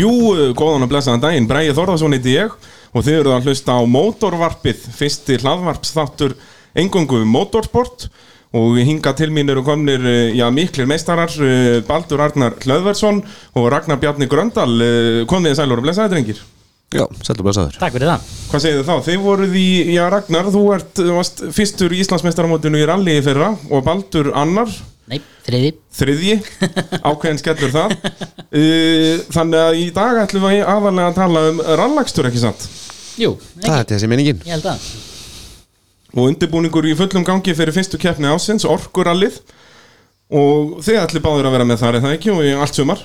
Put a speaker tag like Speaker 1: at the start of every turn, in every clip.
Speaker 1: Jú, eh, góðan og blessaðan daginn, Bræði Þorðarsson heiti ég og þið eruð að hlusta á Mótorvarpið, fyrsti hlaðvarpsþáttur engungu um motorsport og hinga til mín eru komnir eh, já, miklir meistarar, eh, Baldur Arnar Hlöðversson og Ragnar Bjarni Gröndal eh, komið þið sælur og blessaði drengir
Speaker 2: Já, sættu bara sæður
Speaker 3: Takk fyrir það
Speaker 1: Hvað segir þið þá? Þið voruð í, já Ragnar, þú ert þú varst fyrstur í Íslandsmeistaramótinu í rally í fyrra og Baldur annar
Speaker 3: Nei, þriði
Speaker 1: þriðji, ákveðin skellur það uh, þannig að í dag ætlum við aðalega að tala um rallakstur ekki sant
Speaker 3: Jú,
Speaker 2: Það
Speaker 3: ekki,
Speaker 2: er þessi meiningin
Speaker 3: ég held að
Speaker 1: og undirbúningur í fullum gangi fyrir fyrstu keppni ásins, orkurallið og þið ætlum báður að vera með þar er það ekki og í allt sumar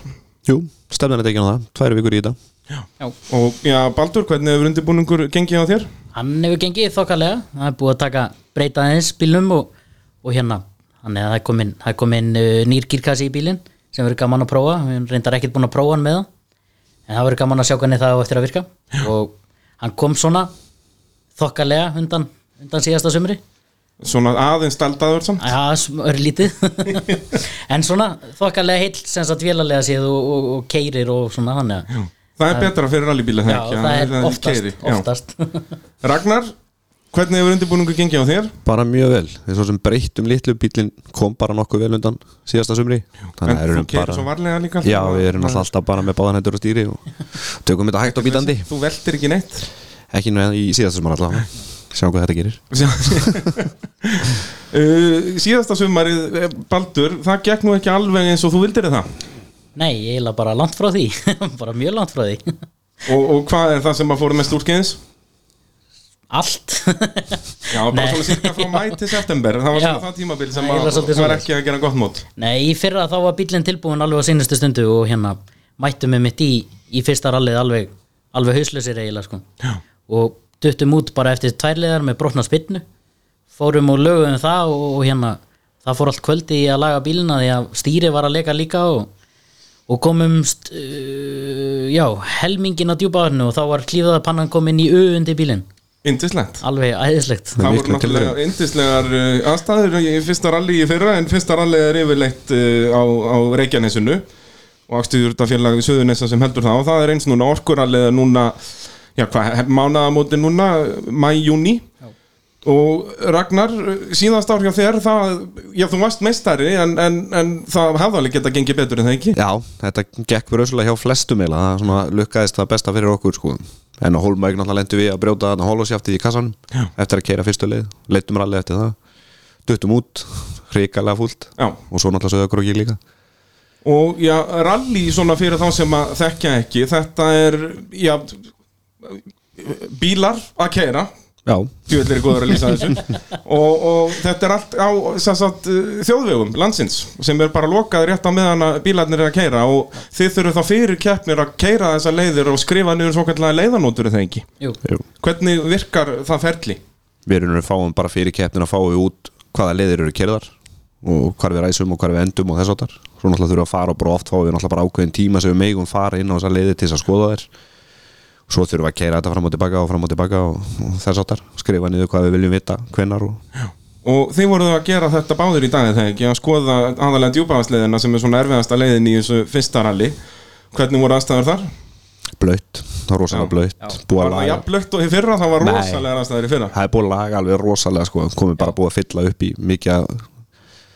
Speaker 2: Jú, stefnan er tekinn á það, tvær vikur í þetta
Speaker 3: Já,
Speaker 1: og já, Baldur, hvernig hefur undirbúningur gengið á þér?
Speaker 3: hann hefur gengið þokkalega Það er búið að taka breyta aðeins bílnum og, og hérna Þannig að það er komin, það er komin uh, nýr gírkassi í bílinn sem verður gaman að prófa, við erum reyndar ekkert búin að prófa hann með það en það verður gaman að sjá hvernig það á eftir að virka og hann kom svona þokkalega undan, undan síðasta sumri
Speaker 1: Svona aðeins staldaður samt?
Speaker 3: Já, örlítið en svona þokkalega heill sem sagt vélalega séð og, og, og keirir og svona þannig að
Speaker 1: Það er betra fyrir rallybíla
Speaker 3: Já,
Speaker 1: það ekki
Speaker 3: það er
Speaker 1: að-
Speaker 3: oftast,
Speaker 1: keyri, já.
Speaker 3: oftast.
Speaker 1: Ragnar, hvernig hefur undirbúningur gengið á þér?
Speaker 2: Bara mjög vel, þess að sem breyttum litlu bílinn kom bara nokkuð vel undan síðasta sumri Þannig að
Speaker 1: En
Speaker 2: erum
Speaker 1: þú keirir
Speaker 2: bara
Speaker 1: svo varlega líka
Speaker 2: Já,
Speaker 1: þú-
Speaker 2: við erum náttúrulega alltaf bara með báðan hendur og stýri og tökum þetta hægt og bítandi
Speaker 1: Þú veltir ekki neitt
Speaker 2: Ekki nú í síðasta sumar allavega Sjáum hvað þetta gerir
Speaker 1: Sjá- uh, síðasta sumarið eh, Baldur, það gekk nú ekki alveg eins og þú vildir það
Speaker 3: Nei, ég heila bara langt frá því bara mjög langt frá því
Speaker 1: og, og hvað er það sem að fóru mest úrskeiðis?
Speaker 3: Allt
Speaker 1: Já, bara
Speaker 3: Nei.
Speaker 1: svona cirka frá mæ til september það var
Speaker 3: Já.
Speaker 1: svona það tímabil sem að,
Speaker 3: Það er eiginlega svolítið
Speaker 1: var
Speaker 3: svoleiðis.
Speaker 1: ekki að gera gott mót
Speaker 3: Nei, í fyrra þá var bílinn tilbúin alveg á sínustu stundu og hérna mættum við mitt í, í fyrsta rallið alveg, alveg hauslausir eiginlega sko. og duttum út bara eftir tværlegar með brotna spinnu fórum og lögum það og, og hérna það fór allt kvöldi í að laga bílina því að stýri var að leika líka og, og komumst uh, já, helmingin að djúpa árnu og þá var klífaða pannan komin í öundi bílinn
Speaker 1: Indislegt
Speaker 3: alveg æðislegt
Speaker 2: Það
Speaker 1: Það
Speaker 2: er
Speaker 1: voru
Speaker 2: miklu
Speaker 1: náttúrulega
Speaker 2: tilraun.
Speaker 1: yndislegar uh, aðstæður í fyrsta rally í fyrra en fyrsta rally er yfirleitt uh, á, á Reykjanesinu og ástuðjúrtafélag við Suðunessa sem heldur það og það er eins núna orkurallið er núna, já hvað, mánaðamóti núna, mæ-júni og Ragnar uh, síðast ár hjá þér, það, já þú varst meistari en, en, en það hefði alveg geta gengið betur en það ekki
Speaker 2: Já, þetta gekk verið össulega hjá flestum eila Það svona lukkaðist það besta fyrir okkur sko En á Hólmæk náttúrulega lendum við að brjóta þarna hólosjáftið í kassanum
Speaker 1: Já.
Speaker 2: Eftir að keira fyrstu leið, leittum rallið eftir það Duttum út, hrikalega fúlt
Speaker 1: Já.
Speaker 2: Og svo náttúrulega sögðu okkur og líka
Speaker 1: Og já, rally svona fyrir þá sem að þekkja ekki, þetta er, já, bílar að keira
Speaker 2: Já,
Speaker 1: djúvillir er góður að lýsa þessu og, og þetta er allt á sem sagt, uh, þjóðvegum landsins sem er bara lokað rétt á meðan að bílarnir er að keira og þið þurfum þá fyrir keppnir að keira þessar leiðir og skrifa niður svo kallega leiðanótur er það ekki
Speaker 3: Jú,
Speaker 2: Jú.
Speaker 1: hvernig virkar það ferli?
Speaker 2: við erum við fáum um bara fyrir keppnin að fáum við út hvaða leiðir eru kerðar og hvar við ræsum og hvar við endum og þess áttar svo náttúrulega þurfum við að fara og bara oft fáum við náttúrulega bara ákveðin tíma sem við megum fara inn á þessa leiðir til þess að skoða þær og svo þurfum við að keira þetta fram og tilbaka og fram og tilbaka og, og þess áttar skrifa niður hvað við viljum vita hvenar og
Speaker 1: og þið voruð að gera þetta báður í dag er það ekki að skoða aðalega djúbafasleiðina sem er svona erfiðasta leiðin í þessu fyrsta rally hvernig voru aðstæður þar?
Speaker 2: blöytt, það er rosalega blöytt búið
Speaker 1: Var
Speaker 2: að
Speaker 1: það
Speaker 2: laga,
Speaker 1: jafnblökt og í fyrra? Það var
Speaker 2: Nei.
Speaker 1: rosalega aðstæður í fyrra
Speaker 2: það er búið að laga alveg rosalega sko, komið bara búið að fylla upp í mikið að-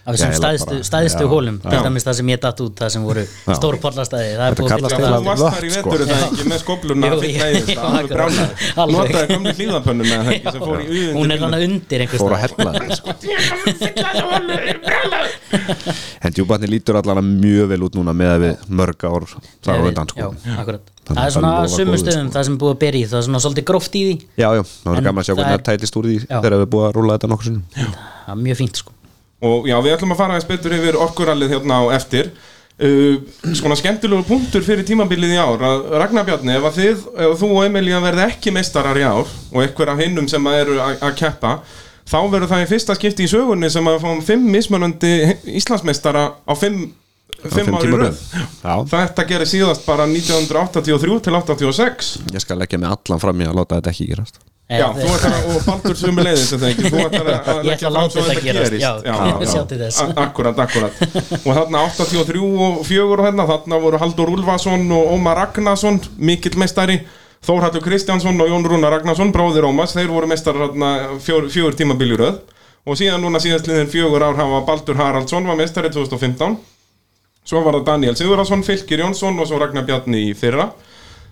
Speaker 3: af þessum
Speaker 2: Já, eiginlega
Speaker 3: stæðstu,
Speaker 2: bara-
Speaker 3: stæðstu
Speaker 2: já,
Speaker 3: hólum til
Speaker 1: já.
Speaker 3: dæmis það sem ég datt út, það sem voru
Speaker 2: Já.
Speaker 3: stór porlastæði, það er
Speaker 2: Þetta
Speaker 3: búið að
Speaker 2: kallast
Speaker 3: fylla
Speaker 2: eiginlega-
Speaker 1: Það varst
Speaker 2: Alveg
Speaker 3: það.
Speaker 1: þar í
Speaker 2: vakt, sko.
Speaker 1: vetur er það ekki með skobluna
Speaker 3: Jú,
Speaker 1: að fylla
Speaker 3: ég-
Speaker 1: í þetta,
Speaker 3: já,
Speaker 1: sko. alveg brjálæði
Speaker 3: alveg.
Speaker 1: Notaði gamli hlýðapönnu með það ekki sem fór í uðundi
Speaker 3: hún er hann undir einhvers
Speaker 2: fór að
Speaker 3: staðar.
Speaker 2: hella þeim, sko. en djúbarni lítur allavega mjög vel út núna með að við mörg ár þar á
Speaker 3: Nei,
Speaker 2: undan sko.
Speaker 3: já, akkurat.
Speaker 2: Þannig
Speaker 3: það
Speaker 2: að sko.
Speaker 3: er svona
Speaker 2: það lofar
Speaker 3: sumum
Speaker 2: góðu,
Speaker 3: stöðum það sem er búið að berja í, það er svona svolítið gróft í því
Speaker 2: Já, já, það
Speaker 3: En
Speaker 2: verður gaman að sjá
Speaker 3: það
Speaker 2: hvernig það
Speaker 3: er-
Speaker 2: tælist úr því
Speaker 3: Já.
Speaker 2: þegar við erum búið að rúla þetta nokkur sinnum
Speaker 3: það er mjög fínt sko
Speaker 1: Og já, við ætlum að fara aðeins betur yfir orkurallið hérna á eftir uh, Svona skemmtilegu punktur fyrir tímabilið í ár að Ragnar Bjarni, ef að þið, ef þú og Emilía verði ekki meistarar í ár og einhver af hinnum sem að eru að að keppa þá verður það í fyrsta skipti í sögunni sem að fáum fimm mismunandi Íslandsmeistara á fimm, fimm ári röð
Speaker 2: Já,
Speaker 1: Þetta gerir síðast bara 1983 til 86
Speaker 2: ég skal leggja mig allan fram í að láta þetta ekki gerast
Speaker 1: Já, þú ætlar að, og Baldur sömu leiðis þetta ekki, þú ætlar að- að
Speaker 3: Ég ætla að láta
Speaker 1: svo
Speaker 3: þetta gerast, já, sjá til þess.
Speaker 1: A- Akkurat, akkurat Og þarna 83 og 4 og hérna, þarna voru Haldur Ulfason og Ómar Ragnarsson, mikill meistari Þórhallur Kristjánsson og Jón Rúnar Ragnarsson, bróðir Ómas, þeir voru meistar hérna, fjör, fjör tíma biljuröð Og síðan núna síðast liðin fjögur ár hafa Baldur Haraldsson var meistari 2015 Svo var það Daniel Sigurðarsson, Fylkir Jónsson og svo Ragnar Bjarni í fyrra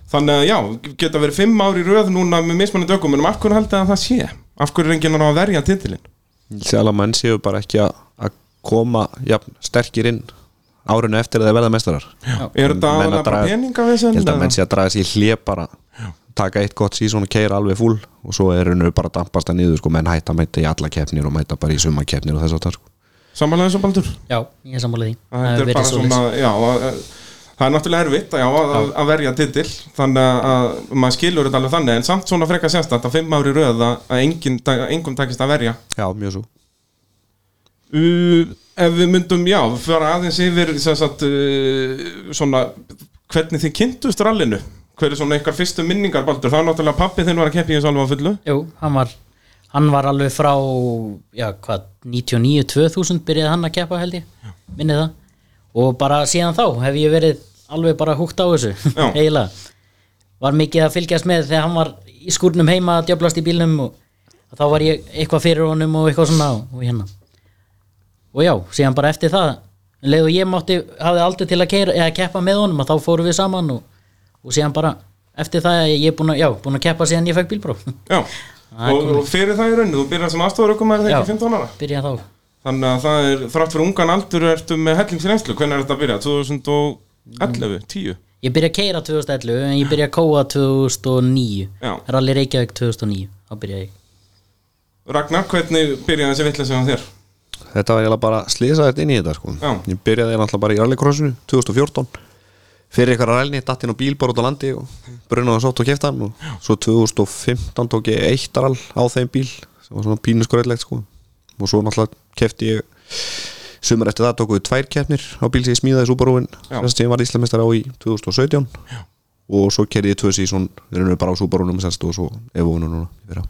Speaker 1: Þannig að já, geta verið fimm ár í röð núna með mismunandi ökum, en af hverju haldið þið að það sé? Af hverju er enginn að ná að verja titilinn?
Speaker 2: Sjálf að menn séu bara ekki að að koma jafn, sterkir inn árinu eftir að þeir verða mestarar
Speaker 1: Er þetta
Speaker 2: Menn að
Speaker 1: aðalega bara
Speaker 2: draga-
Speaker 1: peninga við
Speaker 2: Ég
Speaker 1: sem?
Speaker 2: held að menn sé að draga sér hlið bara taka eitt gott sísón og keira alveg fúl og svo er hennu bara að dampast að niður sko, menn hætta að mæta í alla keppnir og mæta bara í sumakeppnir og þess að það sko.
Speaker 1: Samanlega eins og Baldur?
Speaker 3: Já, ég er sammálið því
Speaker 1: Að Þetta
Speaker 3: hefur
Speaker 1: er
Speaker 3: verið
Speaker 1: bara
Speaker 3: svoleiðis.
Speaker 1: svona, já, að, að- það er náttúrulega erfitt að, já, að, að verja titil, þannig að, að maður skilur þetta alveg þannig, en samt svona freka sérstætt að fimm ár í röð að, að engin, að engum takist að verja.
Speaker 2: Já, mjög svo
Speaker 1: Uh, ef við myndum, já, við fara aðeins yfir sem sagt, uh, svona, hvernig þið kynntust rallinu hver er svona ykkar fyrstu minningar Baldur það er náttúrulega pappi þinn var að keppi í þessu alveg að fullu
Speaker 3: Jú, hann var, hann var alveg frá já, hvað, 99-2000 byrjaði hann að keppa held ég minni það, og bara síðan þá hef ég verið alveg bara húgt á þessu
Speaker 1: Já.
Speaker 3: eiginlega var mikið að fylgjast með þegar hann var í skúrnum heima að djöblast í bílnum og þá var ég eitthvað fyrir honum og eitthvað svona og, og hérna og já, síðan bara eftir það um leið og ég mátti, hafði aldrei til að keira, eða, keppa með honum og þá fórum við saman og, og síðan bara eftir það ég er búin að, já, búin að keppa síðan ég fekk bílpróf
Speaker 1: já, og, og fyrir það í rauninu þú byrjar sem aðstofur okkur maður þegar
Speaker 3: Já.
Speaker 1: 15 ára
Speaker 3: byrja þá
Speaker 1: þannig að það er, þrátt fyrir ungan aldur ertu með hellingsrenslu, hvernig er þetta að byrja 2011, 10
Speaker 3: ég byrja að keira 2011 en ég byrja að kóa 2009
Speaker 1: Já.
Speaker 3: Rally Reykjavík 2009 þá byrja ég
Speaker 1: Ragnar, hvernig byrjaði þessi vitlega sem þér?
Speaker 2: Þetta var eiginlega bara slisaðið inn í þetta sko.
Speaker 1: Já.
Speaker 2: Ég byrjaði eiginlega bara í rallycrossinu 2014 Fyrir eitthvað rælni, datt inn á bíl bara út á landi og brunaði sátt og kefti hann og svo 2015 tók ég eitt rall á þeim bíl sem var svona pínusgröðlegt sko. og svo náttúrulega kefti ég sumar eftir það tóku við tvær keppnir á bíl sem ég smíðaði Subaruin
Speaker 1: Já.
Speaker 2: sem ég var íslamistar á í 2017 Já. og svo kerði ég tvö sísón við erum bara á Subaruinum semst og svo Evoinu núna í fyrra.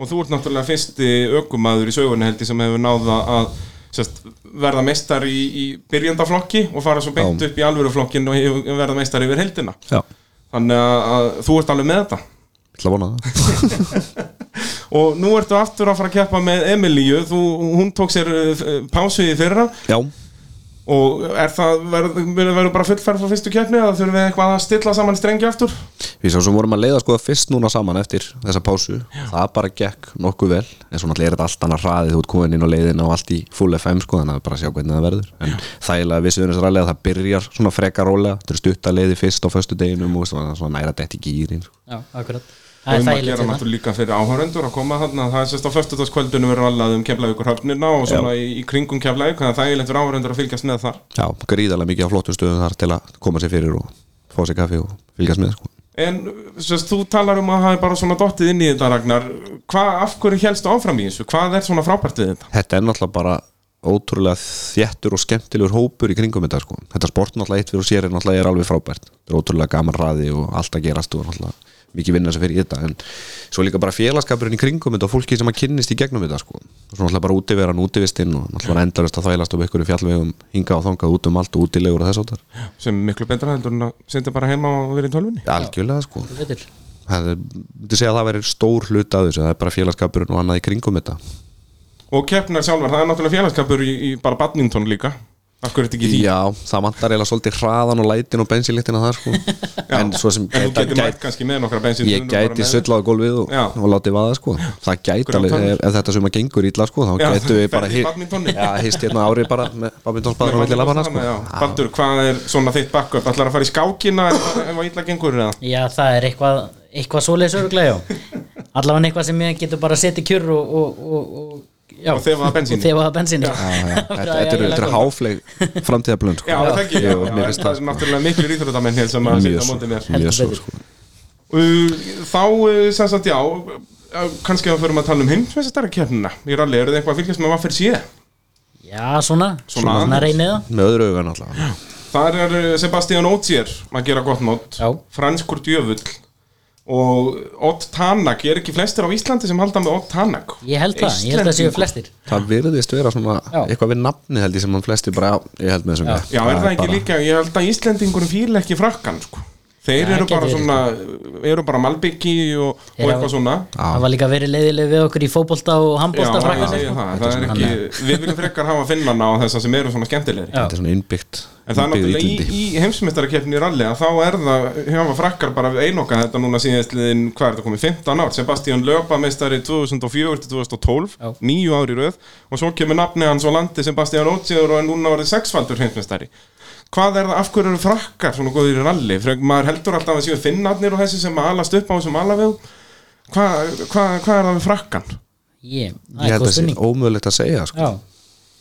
Speaker 1: Og þú ert náttúrulega fyrsti ökumaður í sögunni held ég sem hefur náða að sérst, verða meistar í, í byrjandaflokki og fara svo beint
Speaker 2: Já.
Speaker 1: upp í alvöruflokkin og hefur- verða meistar yfir heldina.
Speaker 2: Já, ég
Speaker 1: Þannig að, að þú ert alveg með þetta.
Speaker 2: ætla að vona það
Speaker 1: Og nú ertu aftur að fara að keppa með Emilíu, þú, hún tók sér uh, pásu í fyrra
Speaker 2: Já,
Speaker 1: og er það, verður verð bara fullferð frá fyrstu keppni eða þurfum við eitthvað að stilla saman strengi aftur?
Speaker 2: Við sá sem vorum að leiða sko fyrst núna saman eftir þessa pásu, það bara gekk nokkuð vel, en svo náttúrulega er þetta allt annað hraðið þú ert komin inn á leiðin og allt í full FM sko, þannig að bara sjá hvernig það verður en þægilega við suðunins ræðlega það byrjar svona frekar rólega, þetta er stutta leiði fyrst á föstu deginum og svona, svona næra dætt í gýrin sko.
Speaker 3: já, akkurat
Speaker 1: Og um
Speaker 3: það er
Speaker 1: að gera
Speaker 3: þægilegt hérna.
Speaker 1: náttúrulega líka fyrir áhörendur að koma þarna það er sérst á föstudagskvöldunum verður allað um keflavíkur höfnina og svona í, í kringum keflavík þannig að það er leitt fyrir áhörendur að fylgjast með þar
Speaker 2: Já, gríðarlega mikið á flottum stöðum þar til að koma sér fyrir og fá sér kaffi og fylgjast með sko.
Speaker 1: en sérst þú talar um að það er bara svona dottið inn í þetta Ragnar hvað, af hverju helstu áfram í þessu, hvað er svona frábært við þetta?
Speaker 2: Þetta er náttúrulega bara ótrúlega þéttur og skemmtilegur hópur í kringum þetta sko. Þetta sport náttúrulega eitt fyrir og sér er náttúrulega er alveg frábært. Þetta er ótrúlega gaman ræði og allt að gerast og náttúrulega mikið vinna sem fyrir í þetta en svo líka bara félagskapurinn í kringum þetta og fólki sem að kynnist í gegnum þetta sko. og svo náttúrulega bara útiveran útivistinn og náttúrulega endarist að þvælast upp ykkur í fjallvegum hinga og þangað út um allt og útilegur og þess áttar
Speaker 1: sem er miklu betra heldur en að senda bara heima og vera í tölvunni
Speaker 2: algjörlega sko
Speaker 3: Þú veitir.
Speaker 2: það er, myndi segja að það verið stór hlut að þessu það er bara félagskapurinn og annað í kringum þetta
Speaker 1: og keppnar sjálfar, það er náttúrulega félagskapur í, í bara badminton líka af hverju er þetta ekki í því?
Speaker 2: Já, það vantar eiginlega svolítið hraðan og lætin og bensinlíktina þar sko En svo
Speaker 1: en
Speaker 2: sem
Speaker 1: þú
Speaker 2: gæta,
Speaker 1: getur mætt
Speaker 2: gæt,
Speaker 1: kannski með nokkra bensin
Speaker 2: ég gæti söllað á gólfið og,
Speaker 1: Já.
Speaker 2: og látið vaða sko Það gæti
Speaker 1: Grátar.
Speaker 2: alveg, ef, ef þetta sem að gengur ítla sko þá
Speaker 1: Já,
Speaker 2: gætu við bara
Speaker 1: ferð í
Speaker 2: hi-
Speaker 1: badmintonni.
Speaker 2: Já, hist hérna árið bara með badmintonspæður og
Speaker 1: Með
Speaker 2: vilja labana sko
Speaker 1: badmintonstana, um já. Baldur, hvað er svona þitt backup? Ætlar að fara í skákina ef ef að illa gengur eða?
Speaker 3: já, það er eitthvað eitthvað svoleiðis örglega, já allavega eitthvað sem ég getur bara að setja kjur og, og, og, og, já,
Speaker 1: Og þefaða bensíni.
Speaker 3: og þefaða bensín já,
Speaker 2: Já, já, Þetta
Speaker 3: Það er
Speaker 2: þetta eru þetta eru
Speaker 3: eiginlega
Speaker 2: háfleg framtíðablönd sko
Speaker 1: Já, það ekki, já,
Speaker 2: Jú,
Speaker 1: já,
Speaker 2: mér
Speaker 1: en
Speaker 2: finnst
Speaker 1: það
Speaker 2: það
Speaker 1: er
Speaker 2: sko
Speaker 1: náttúrulega miklu íþrótamenn hér sem að
Speaker 2: Mjög
Speaker 1: sitja á
Speaker 2: svo,
Speaker 1: móti mér
Speaker 2: mjög
Speaker 3: Heldur
Speaker 2: svo
Speaker 3: betur.
Speaker 2: sko
Speaker 1: Uh, Þá, uh, sem sagt, já uh, kannski að förum að tala um heimsmeistara kjörnina í ralli, eru þið eitthvað að fylgjast með hvað fyrir síða?
Speaker 3: já svona, svona,
Speaker 1: aðeins.
Speaker 3: svona reynið það
Speaker 2: Með öðru augan allavega
Speaker 1: Þar er uh, Sebastian Ogier að gera gott mót
Speaker 3: Já.
Speaker 1: franskur djöfull og Ott Tanak, ég er ekki flestir á Íslandi sem halda með Ott Tanak
Speaker 3: Ég held það, ég held það séu flestir
Speaker 2: Það virðist vera svona
Speaker 3: Já.
Speaker 2: eitthvað við nafni held ég sem hann flesti bara, já, ég held með þessum
Speaker 3: Já.
Speaker 1: Já, er það ekki líka, ég held að Íslendingurum fíla ekki frakkan, sko Þeir
Speaker 3: Já,
Speaker 1: eru
Speaker 3: gæti
Speaker 1: bara
Speaker 3: verið,
Speaker 1: svona, eru bara malbyggi og, og
Speaker 3: Þeir
Speaker 1: eitthvað
Speaker 3: hafa-
Speaker 1: svona
Speaker 3: Það var líka verið leiðileg við okkur í fótbolta og
Speaker 1: Já,
Speaker 3: handbolta
Speaker 1: ég
Speaker 3: frakkar
Speaker 1: segi það, það er ekki, við viljum frekar hafa finnana á þessa sem eru svona skemmtilegri
Speaker 3: Já.
Speaker 2: Þetta er svona innbyggt
Speaker 1: En það er náttúrulega í, í heimsmyndarakeppni í rally að þá er það, hafa frakkar bara einoka þetta núna síðastliðin, hvað er þetta komið, 15 ár Sebastian Löpa meistari 2004-2012,
Speaker 3: Já.
Speaker 1: níu ár í röð og svo kemur nafni hans á landi Sebastian Ótsjöður og er núna orðið sexfaldur heimsmeistari Hvað er það, af hverju eru frakkar svona góðir í rally? Frek, maður heldur alltaf að séu finnarnir og þessi sem alast upp á þessum alaveg Hvað hva, hva er það við frakkan?
Speaker 3: Ég,
Speaker 2: Ég
Speaker 3: það er
Speaker 2: held að
Speaker 3: góð
Speaker 2: það sé
Speaker 3: stunning
Speaker 2: ómögulegt að segja sko.
Speaker 3: Já,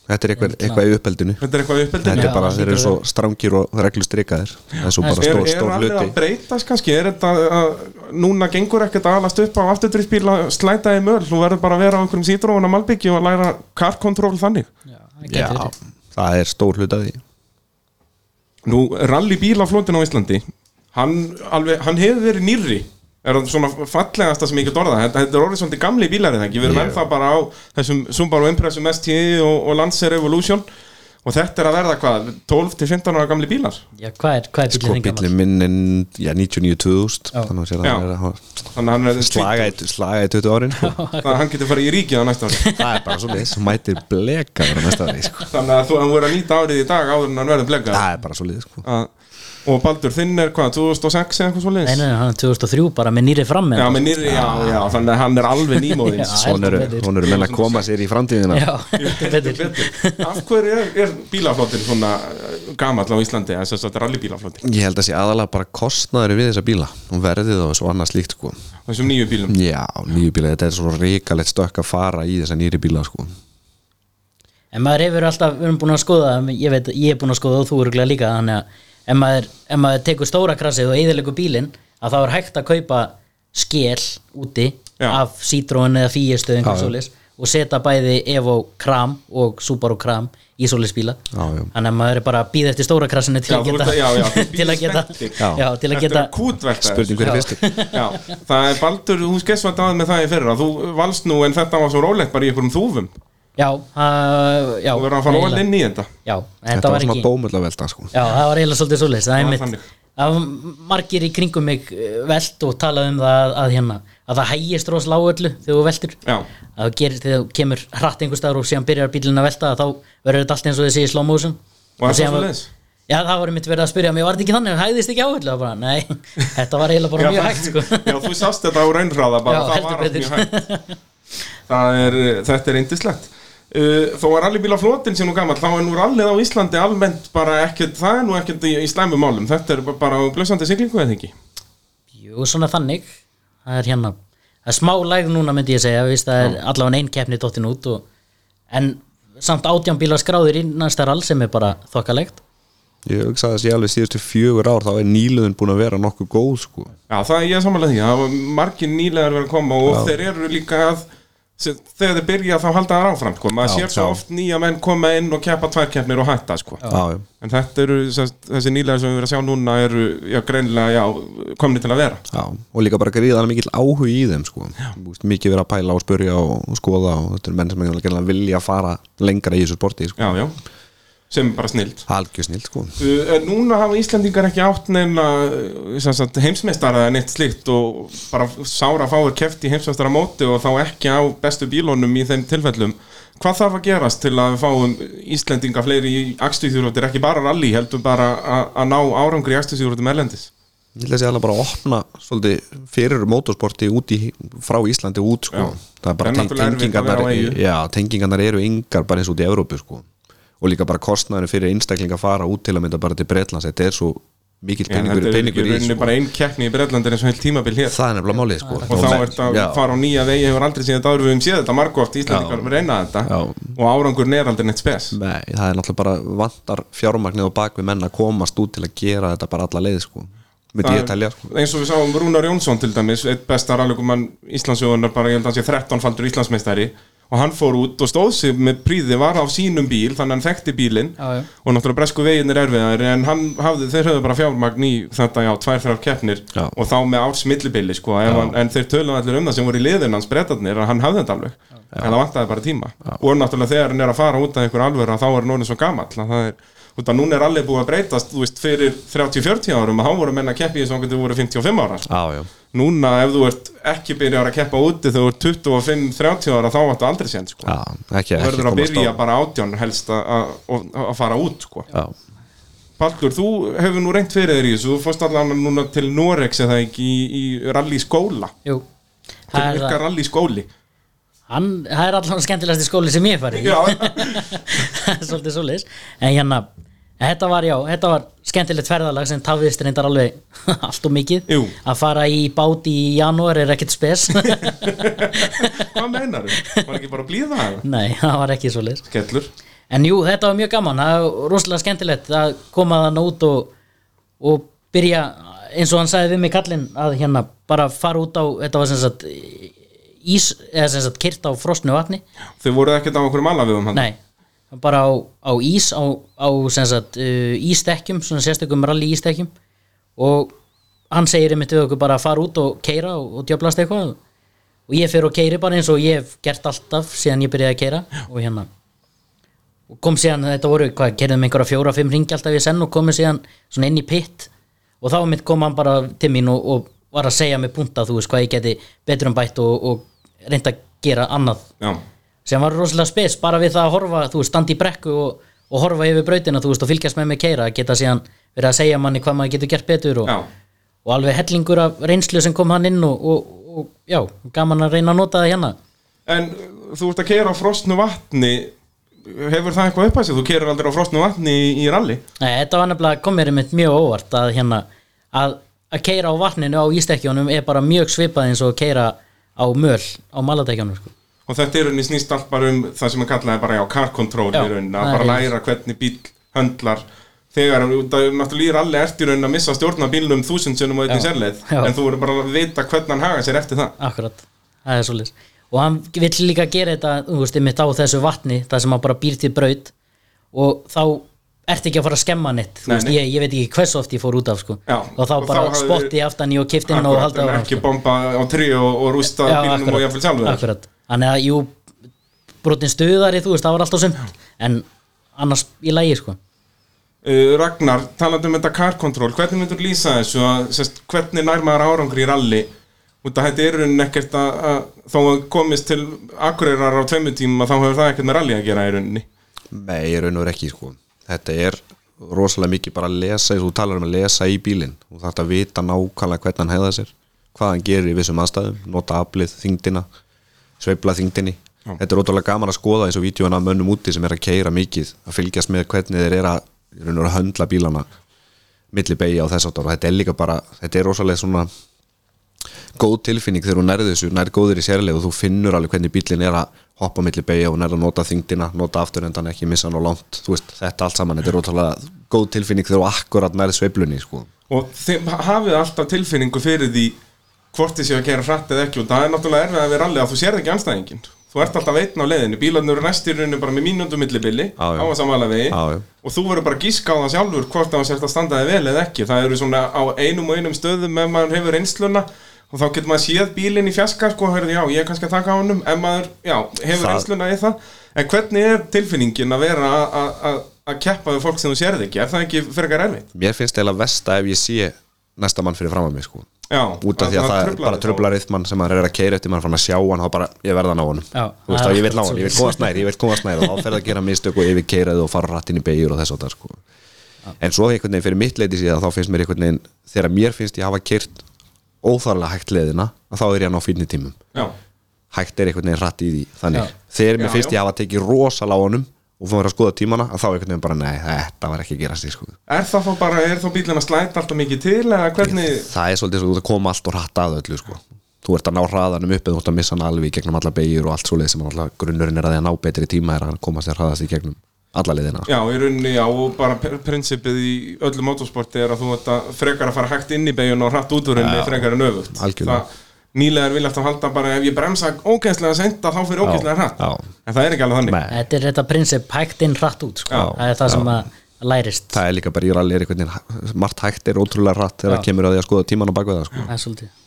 Speaker 2: Þetta er eitthvað, eitthvað í uppeldinu
Speaker 1: Þetta er eitthvað uppeldinu
Speaker 2: Þetta
Speaker 3: Já,
Speaker 2: er bara,
Speaker 3: það
Speaker 2: þeir eru
Speaker 3: hlýtur
Speaker 2: svo strangir og reglustrikaðir Það er svo bara
Speaker 1: Er,
Speaker 2: stór,
Speaker 1: er
Speaker 2: stór
Speaker 1: alveg að
Speaker 2: hluti
Speaker 1: breytast kannski er þetta að, núna gengur ekkert að alast upp á afturdriftsbíla slæta í möl þú verður bara að vera á einhverjum sítrófun að malbyggju og læra karkontról þannig
Speaker 3: já,
Speaker 2: Já,
Speaker 3: það getur verið.
Speaker 2: það er stór hluti að því
Speaker 1: Nú, rallybíla á Íslandi hann, alveg, hann hefur verið nýrri er það svona fallegasta sem ég get orða þetta, þetta er orðið svolítið gamli bílar eða ekki við erum
Speaker 2: Jú.
Speaker 1: ennþá bara á þessum Subaru Impressum STI og, og Lancer Evolution og þetta er að verða hvað 12-15 ára gamli bílar
Speaker 3: Já, hvað er, hvað er
Speaker 2: Sko
Speaker 3: bíllinn þingamall?
Speaker 2: bíllinn minn en já, 99.000
Speaker 3: Já.
Speaker 2: Þannig að
Speaker 1: Já.
Speaker 2: sér að það er að hafa-
Speaker 1: þannig að hann er
Speaker 2: slaga í, slaga í 20 árin sko.
Speaker 1: þannig að hann getur farið í ríkið á næsta ári
Speaker 2: Það er bara svo leis Mætir bleka vera næsta ári sko.
Speaker 1: Þannig að þú hann verður að nýta árið í dag áður en hann verður
Speaker 3: Ah.
Speaker 1: blekað
Speaker 2: Það er bara svo leis sko.
Speaker 1: Að- Ah. Og Baldur þinn er hvað, 2006 eða eitthvað svo
Speaker 3: Nei, nei, nei, hann er 2003 bara með nýri fram með
Speaker 1: Já, með nýri, já, já, þannig að hann er alveg nýmóðins
Speaker 3: Já,
Speaker 2: Svona eru
Speaker 3: heldur betur.
Speaker 2: svona eru menn að koma sér í framtíðina
Speaker 3: Já, þetta er betur
Speaker 1: Af hverju er, er bílaflottin svona eh, gamall á Íslandi, þess að þetta er rallybílaflottin
Speaker 2: Ég held að sé aðalega bara kostnaður við þessa bíla og verðið og svo annað slíkt sko.
Speaker 1: Þessum nýju bílum
Speaker 2: Já, nýju bíla, þetta er svo ríkalegt stökk að fara í þessa nýri bíla sko.
Speaker 3: En maður hefur alltaf, við erum búin að skoða ég veit, ég er búin að skoða og þú eru líka þannig að ef maður, ef maður tekur stóra krassið og eðilegu bílinn, að þá er hægt að kaupa skél úti
Speaker 1: Já.
Speaker 3: af Citroen eða Fíestöð einhver svoleiðis og setja bæði Evo Kram og Subaru Kram í svoleiðis bíla
Speaker 2: Já, já.
Speaker 3: þannig að maður er bara að býða eftir stóra krassinu
Speaker 1: Já,
Speaker 3: til að
Speaker 1: þú ert
Speaker 3: geta
Speaker 1: að- já, já, þú
Speaker 3: til að
Speaker 1: bíður
Speaker 3: geta
Speaker 1: spenntur.
Speaker 2: Já.
Speaker 3: já, til að
Speaker 1: Þetta
Speaker 3: geta
Speaker 1: er kútvelta
Speaker 2: Spurning hver er fyrstur
Speaker 1: Já, það er Baldur, þú skess var dáð með það í fyrra Þú valst nú en þetta var svo rólegt bara í einhverjum þúfum
Speaker 3: já, uh, já,
Speaker 1: Þú verður að fara
Speaker 3: eiginlega.
Speaker 1: ólinn í þetta
Speaker 3: já, þetta,
Speaker 2: Þetta var
Speaker 3: var
Speaker 2: svona
Speaker 3: ekki
Speaker 2: bómullavelta sko.
Speaker 3: Já, það var eiginlega svolítið svoleiðis Það er
Speaker 1: var
Speaker 3: mitt
Speaker 1: þannig.
Speaker 3: Það var margir í kringum mig eh, velt og talað um það að, að hérna að það hægist rosa lág öllu þegar þú veltur
Speaker 1: Já.
Speaker 3: að þú gerir þegar þú kemur hratt einhver staðar og síðan byrjar bílinn að velta þá verður þetta allt eins og þessi í slow motion
Speaker 1: Og er það
Speaker 3: síðan var-
Speaker 1: svoleiðis?
Speaker 3: Já, það var mitt verið að spyrja mig, var þetta ekki þannig, hægðist ekki á öllu Það bara, nei, þetta var eiginlega bara
Speaker 1: Já,
Speaker 3: mjög
Speaker 1: það-
Speaker 3: hægt sko.
Speaker 1: Já, þú sást þetta á raunhraða bara,
Speaker 3: Já,
Speaker 1: það
Speaker 3: heldur
Speaker 1: var allt
Speaker 3: betur.
Speaker 1: mjög hægt Það er, eh, þetta er indislegt Uh, þó er allir bíla flotin sem nú gammal þá er nú rallið á Íslandi almennt bara ekkert það er nú ekkert í, í slæmum málum þetta er ba- bara á blössandi siglingu eða ekki
Speaker 3: Jú, svona þannig Það er hérna Það er smá lægð núna myndi ég segja Vist, Það er allavega einn keppni dottin út og, En samt átján bílar skráðir í næsta rall sem er bara þokkalegt
Speaker 2: Ég hugsaði að sé alveg síðustu fjögur ár þá er nýluðin búin að vera nokkuð góð sko.
Speaker 1: Já, það er ég samanlega því, það var margir nýlegar verið að koma og þeir eru líka að sem, þegar þeir byrja þá halda það áfram sko. maður
Speaker 2: Já,
Speaker 1: sér svo
Speaker 2: já.
Speaker 1: oft nýja menn koma inn og keppa tværkeppnir og hætta sko.
Speaker 2: Já, já.
Speaker 1: en þetta eru, sem sagt, þessi nýlegar sem við verið að sjá núna eru, já, greinlega já, komni til að vera
Speaker 2: Já, og líka bara gríðan mikill áhug í þeim sko. Búst, mikið verið að pæla og spurja og, og skoða og þetta er menn sem ekki vilja fara lengra í þessu sporti sko.
Speaker 1: já, já, sem er bara snild
Speaker 2: algjör snilt sko.
Speaker 1: uh, en núna hafa Íslendingar ekki átt neina uh, sem sagt, heimsmeistara eða neitt slikt og bara sára fáir keft í heimsmeistara móti og þá ekki á bestu bílónum í þeim tilfellum hvað þarf að gerast til að við fáum Íslendinga fleiri í akstuðjúrútur ekki bara rally, heldur bara a- að ná árangri í akstuðjúrútum erlendis
Speaker 2: Ég held að sé alveg bara að opna svolítið, fyrir mótorsporti út í, frá Íslandi út sko.
Speaker 1: Já.
Speaker 2: það er bara
Speaker 1: En
Speaker 2: ten,
Speaker 1: náttúrulega erfitt að vera á E
Speaker 2: tengingarnar
Speaker 1: eyju.
Speaker 2: já, tengingarnar eru yngar bara eins út í Evrópu sko. og líka bara kostnæðinu fyrir einstakling að fara út til að mynda bara til Bretlands þetta er svo mikill
Speaker 1: Já,
Speaker 2: peningur,
Speaker 1: þetta er ekki
Speaker 2: peningur í
Speaker 1: rauninni
Speaker 2: sko.
Speaker 1: bara einn keppni í Bretlandir eins og heilt tímabil hér
Speaker 2: það er nefnilega málið sko.
Speaker 1: og þá ert að
Speaker 2: Já.
Speaker 1: fara á nýja vegi hefur aldrei síðan dagur við um séð þetta margóft Íslandingar
Speaker 2: Já.
Speaker 1: reyna þetta
Speaker 2: Já.
Speaker 1: og árangurinn er aldrei neitt spes
Speaker 2: Nei, það er náttúrulega bara vantar fjármagnið og bak við menn að komast út til að gera þetta bara alla leið sko. myndi
Speaker 1: Það
Speaker 2: ég telja sko.
Speaker 1: er- eins og við sáum Rúnar Jónsson til dæmis eitt besta rallygumann Íslandsjóðunar bara ég held að hann sé 13 faldur Íslandsmeistari og hann fór út og stóð sig með príði var á sínum bíl þannig að hann þekkti bílinn
Speaker 3: Já, já.
Speaker 1: og náttúrulega bresku veginir erfiðar en hann hafði, þeir höfðu bara fjármagn í þetta já, tvær þrjár keppnir
Speaker 2: Já.
Speaker 1: og þá með árs millibili sko ef hann, en þeir töluðu allir um það sem voru í liðin hans bretarnir að hann hafði þetta alveg en það vantaði bara tíma og náttúrulega þegar hann er að fara út af einhver alvöru þá er hann orðin svo gamall að það er Út að núna er allir búið að breytast, þú veist, fyrir 30-40 árum að hann voru menna að keppi í þessu angandi voru 55 ára. sko.
Speaker 2: Já, já,
Speaker 1: Núna ef þú ert ekki byrjar að keppa úti þegar þú ert 25-30 ára þá áttu aldrei sér, sko.
Speaker 2: já, ekki,
Speaker 1: Þú
Speaker 2: ekki
Speaker 1: verður að
Speaker 2: komast á-
Speaker 1: byrja bara átján helst að- að að- að fara út, sko.
Speaker 2: Já,
Speaker 1: Baldur, þú hefur nú reynt fyrir þér í þessu, þú fórst allan núna til Norex eða ekki í, í rally skóla.
Speaker 3: Jú Það
Speaker 1: Hvernig
Speaker 3: er,
Speaker 1: virkar
Speaker 3: það.
Speaker 1: rally skóli?
Speaker 3: hann, það er allan skemmtilegasti skóli sem ég hef farið í.
Speaker 1: Já,
Speaker 3: svolítið svoleiðis en hérna, þetta var já þetta var skemmtilegt ferðalag sem tafðist reyndar alveg allt og mikið
Speaker 1: Jú.
Speaker 3: að fara í bát í janúar er ekkert spes
Speaker 1: hvað meinar Var ekki bara að blíða það?
Speaker 3: nei, það var ekki svoleiðis
Speaker 1: Skellur.
Speaker 3: en jú, þetta var mjög gaman, það var rosalega skemmtilegt að koma þann út og, og byrja, eins og hann sagði við mig kallinn að hérna bara fara út á, þetta var sem sagt ís, eða sem sagt kyrt á frosnu vatni
Speaker 1: Þau voru ekkert á okkur malaviðum hann?
Speaker 3: Nei, bara á, á ís á, á sem sagt, uh, ístekkjum svona sérstökum rally ístekkjum og hann segir einmitt við okkur bara að fara út og keira og, og djöblast eitthvað og ég fer og keiri bara eins og ég hef gert alltaf síðan ég byrjaði að keira og hérna og kom síðan, þetta voru, hvað, kerðum einhverja fjóra, fimm ringi alltaf í senn og komum síðan svona inn í pitt og þá mitt kom hann bara til mín og, og var að segja mig punta, þú veist, hvað ég geti betrum bætt og, og reynda að gera annað
Speaker 1: Já,
Speaker 3: sem var rosalega spes bara við það að horfa, þú veist, standa í brekku og, og horfa yfir brautina, þú veist, og fylgjast með mig keira að geta síðan verið að segja manni hvað maður getur gert betur og,
Speaker 1: já.
Speaker 3: og alveg hellingur af reynslu sem kom hann inn og, og, og já, gaman að reyna að nota það hérna
Speaker 1: En uh, þú ert að keira á frosnu vatni, hefur það eitthvað upp að sig? Þú keirir aldrei á frosnu vatni í, í rally?
Speaker 3: Nei, þetta var nefnilega, kom mér einmitt mjög óvart að hérna, að, að keira á vatninu á ístekkjónum er bara mjög svipað eins og að keira á möl á maladekkjónum, sko
Speaker 1: Og þetta er rauninni snýst allt bara um það sem að kallaði bara já, car control
Speaker 3: Já,
Speaker 1: í rauninni,
Speaker 3: það
Speaker 1: að
Speaker 3: er
Speaker 1: bara
Speaker 3: rétt.
Speaker 1: læra hvernig bíl höndlar þegar, út af- náttúrulega er allir eftir rauninni að missa stjórna bílnum þúsund sinnum og
Speaker 3: Já,
Speaker 1: einnig sérleið,
Speaker 3: já.
Speaker 1: en þú verður bara að vita hvernig hann haga sér eftir það.
Speaker 3: Akkurat, það er svolítið og hann vill líka gera þetta þú veist, einmitt á þessu vatni, það sem hann bara býr til braut og þá ertu ekki að fara að skemma neitt Þú
Speaker 1: Nei,
Speaker 3: veist,
Speaker 1: nei.
Speaker 3: ég, ég veit ekki hversu oft ég fór út af sko.
Speaker 1: Já,
Speaker 3: og þá
Speaker 1: og
Speaker 3: bara
Speaker 1: þá hafði-
Speaker 3: spotti aftan í og kifti inn og halda
Speaker 1: en
Speaker 3: áfram,
Speaker 1: ekki
Speaker 3: sko.
Speaker 1: bomba á tri og, og rústa
Speaker 3: Já,
Speaker 1: bílnum
Speaker 3: akkurat.
Speaker 1: og jáfnvel sjálfur.
Speaker 3: Akkurat, þannig að jú brotin stuðari, þú veist, það var alltaf sumt en annars í lægi sko.
Speaker 1: Uh, Ragnar, talandi um þetta car control hvernig myndur lýsa þessu að, sest, hvernig nær maður árangri í rally út að þetta er raunin ekkert að, að þó að komist til akureyrar á tveimur tíma þá hefur það ekkert með rally að gera í rauninni
Speaker 2: nei, ég raun og veru ekki sko. Þetta er rosalega mikið bara að lesa eins og þú talar um að lesa í bílinn og þetta að vita nákvæmlega hvernig hann hegða sér hvað hann gerir í vissum aðstæðum nota aflið þingdina, sveifla þingdinni Þetta er ótrúlega gaman að skoða eins og vídjóna af mönnum úti sem er að keira mikið að fylgjast með hvernig þeir eru að, í raun og veru að höndla bílana milli beigja og þess áttar og þetta er líka bara, þetta er rosalega svona góð tilfinning þegar þú nærðu þessu, nær góður í sérlega og þú finnur alveg hvernig bílinn er að hoppa milli beigja og nær að nota þingdina, nota afturhendan ekki missa hann og langt, þú veist, þetta allt saman þetta er rosalega góð tilfinning þegar þú akkurat nærð sveiflunni, sko,
Speaker 1: og þeim hafið alltaf tilfinningu fyrir því hvort þið séu að gera hratt eða ekki og það er náttúrulega erfið að við rally að þú sér ekki anstæðingin þú ert alltaf veitn á leiðinu, bílarnir eru næst í rauninni bara með mínúndum millibili
Speaker 2: Já, já.
Speaker 1: á að samvala vegi
Speaker 2: Já, já.
Speaker 1: og þú verður bara að gíska á það sjálfur hvort það sért að standa þig vel eða ekki það eru svona á einum og einum stöðum ef maður hefur reynsluna og þá getur maður séð bílinn í fjarska sko, hörðu, já, ég er kannski að taka á honum en maður, já, hefur
Speaker 2: Það-
Speaker 1: reynsluna í það en hvernig er tilfinningin að vera að- að- að að keppa við fólk sem þú sérð ekki er það ekki frekar erfitt?
Speaker 2: mér finnst eða vest að ef ég sé næsta mann fyrir fram að mig, sko
Speaker 1: Já,
Speaker 2: út af því að það er bara
Speaker 1: þig þá.
Speaker 2: tröflar rytman sem maður er að keira eftir maður er farin að sjá hann þá bara, ég verða að ná honum
Speaker 3: Já,
Speaker 2: þú veist þá,
Speaker 3: það er
Speaker 2: ég vil ná
Speaker 3: akkurat
Speaker 2: honum, ég vil
Speaker 3: svoleiðis.
Speaker 2: komast nær, ég vil komast nær og þá fer það að gera mistök og yfir keiraði og fara rattinn í beigur og þess að það sko en svo einhvern veginn fyrir mitt leiti síðan þá finnst mér einhvern veginn, þegar mér finnst ég hafa keirt óþarlega hægt leiðina að þá er ég að ná fínni tímum
Speaker 1: Já.
Speaker 2: hægt er einhvern veginn rætt í því þannig,
Speaker 3: Já.
Speaker 2: þegar mér
Speaker 1: Já,
Speaker 2: finnst
Speaker 1: já.
Speaker 2: ég hafa tekið rosalega á honum og fór að skoða tímana að þá einhvern veginn bara, nei, þetta var ekki að gerast í sko.
Speaker 1: Er það þá bara, er þá bílinn að slæta alltaf mikið til eða hvernig,
Speaker 2: það er svolítið svo þú ert að koma allt og hratt að öllu sko. þú ert að ná hraðanum upp eða þú ert að missa hann alveg í gegnum alla beigjur og allt svoleið sem alltaf grunnurinn er að því að ná betri tíma er að hann komast þér hraðast í gegnum alla liðina
Speaker 1: já, í rauninni, já, og bara pr- prinsipið í öllu motorsporti er að þú ert að frekar að fara hægt inn í beigun og hrætt út úr henni frekar en öfugt.
Speaker 2: algjörlega.
Speaker 1: Það, nýlegar vilja alltaf halda bara ef ég bremsa ógeðslega senda þá fyrir ógeðslega hratt
Speaker 2: já.
Speaker 1: en það er ekki alveg þannig
Speaker 2: Nei.
Speaker 3: Þetta er þetta prinsip hægt inn hratt út sko.
Speaker 2: Já,
Speaker 3: það er það sem að lærist
Speaker 2: það er líka bara í rally er einhvern veginn hæ- margt hægt er ótrúlega rætt þegar
Speaker 3: Já.
Speaker 2: það kemur að því að skoða tíman á bakveða sko.
Speaker 3: það er svolítið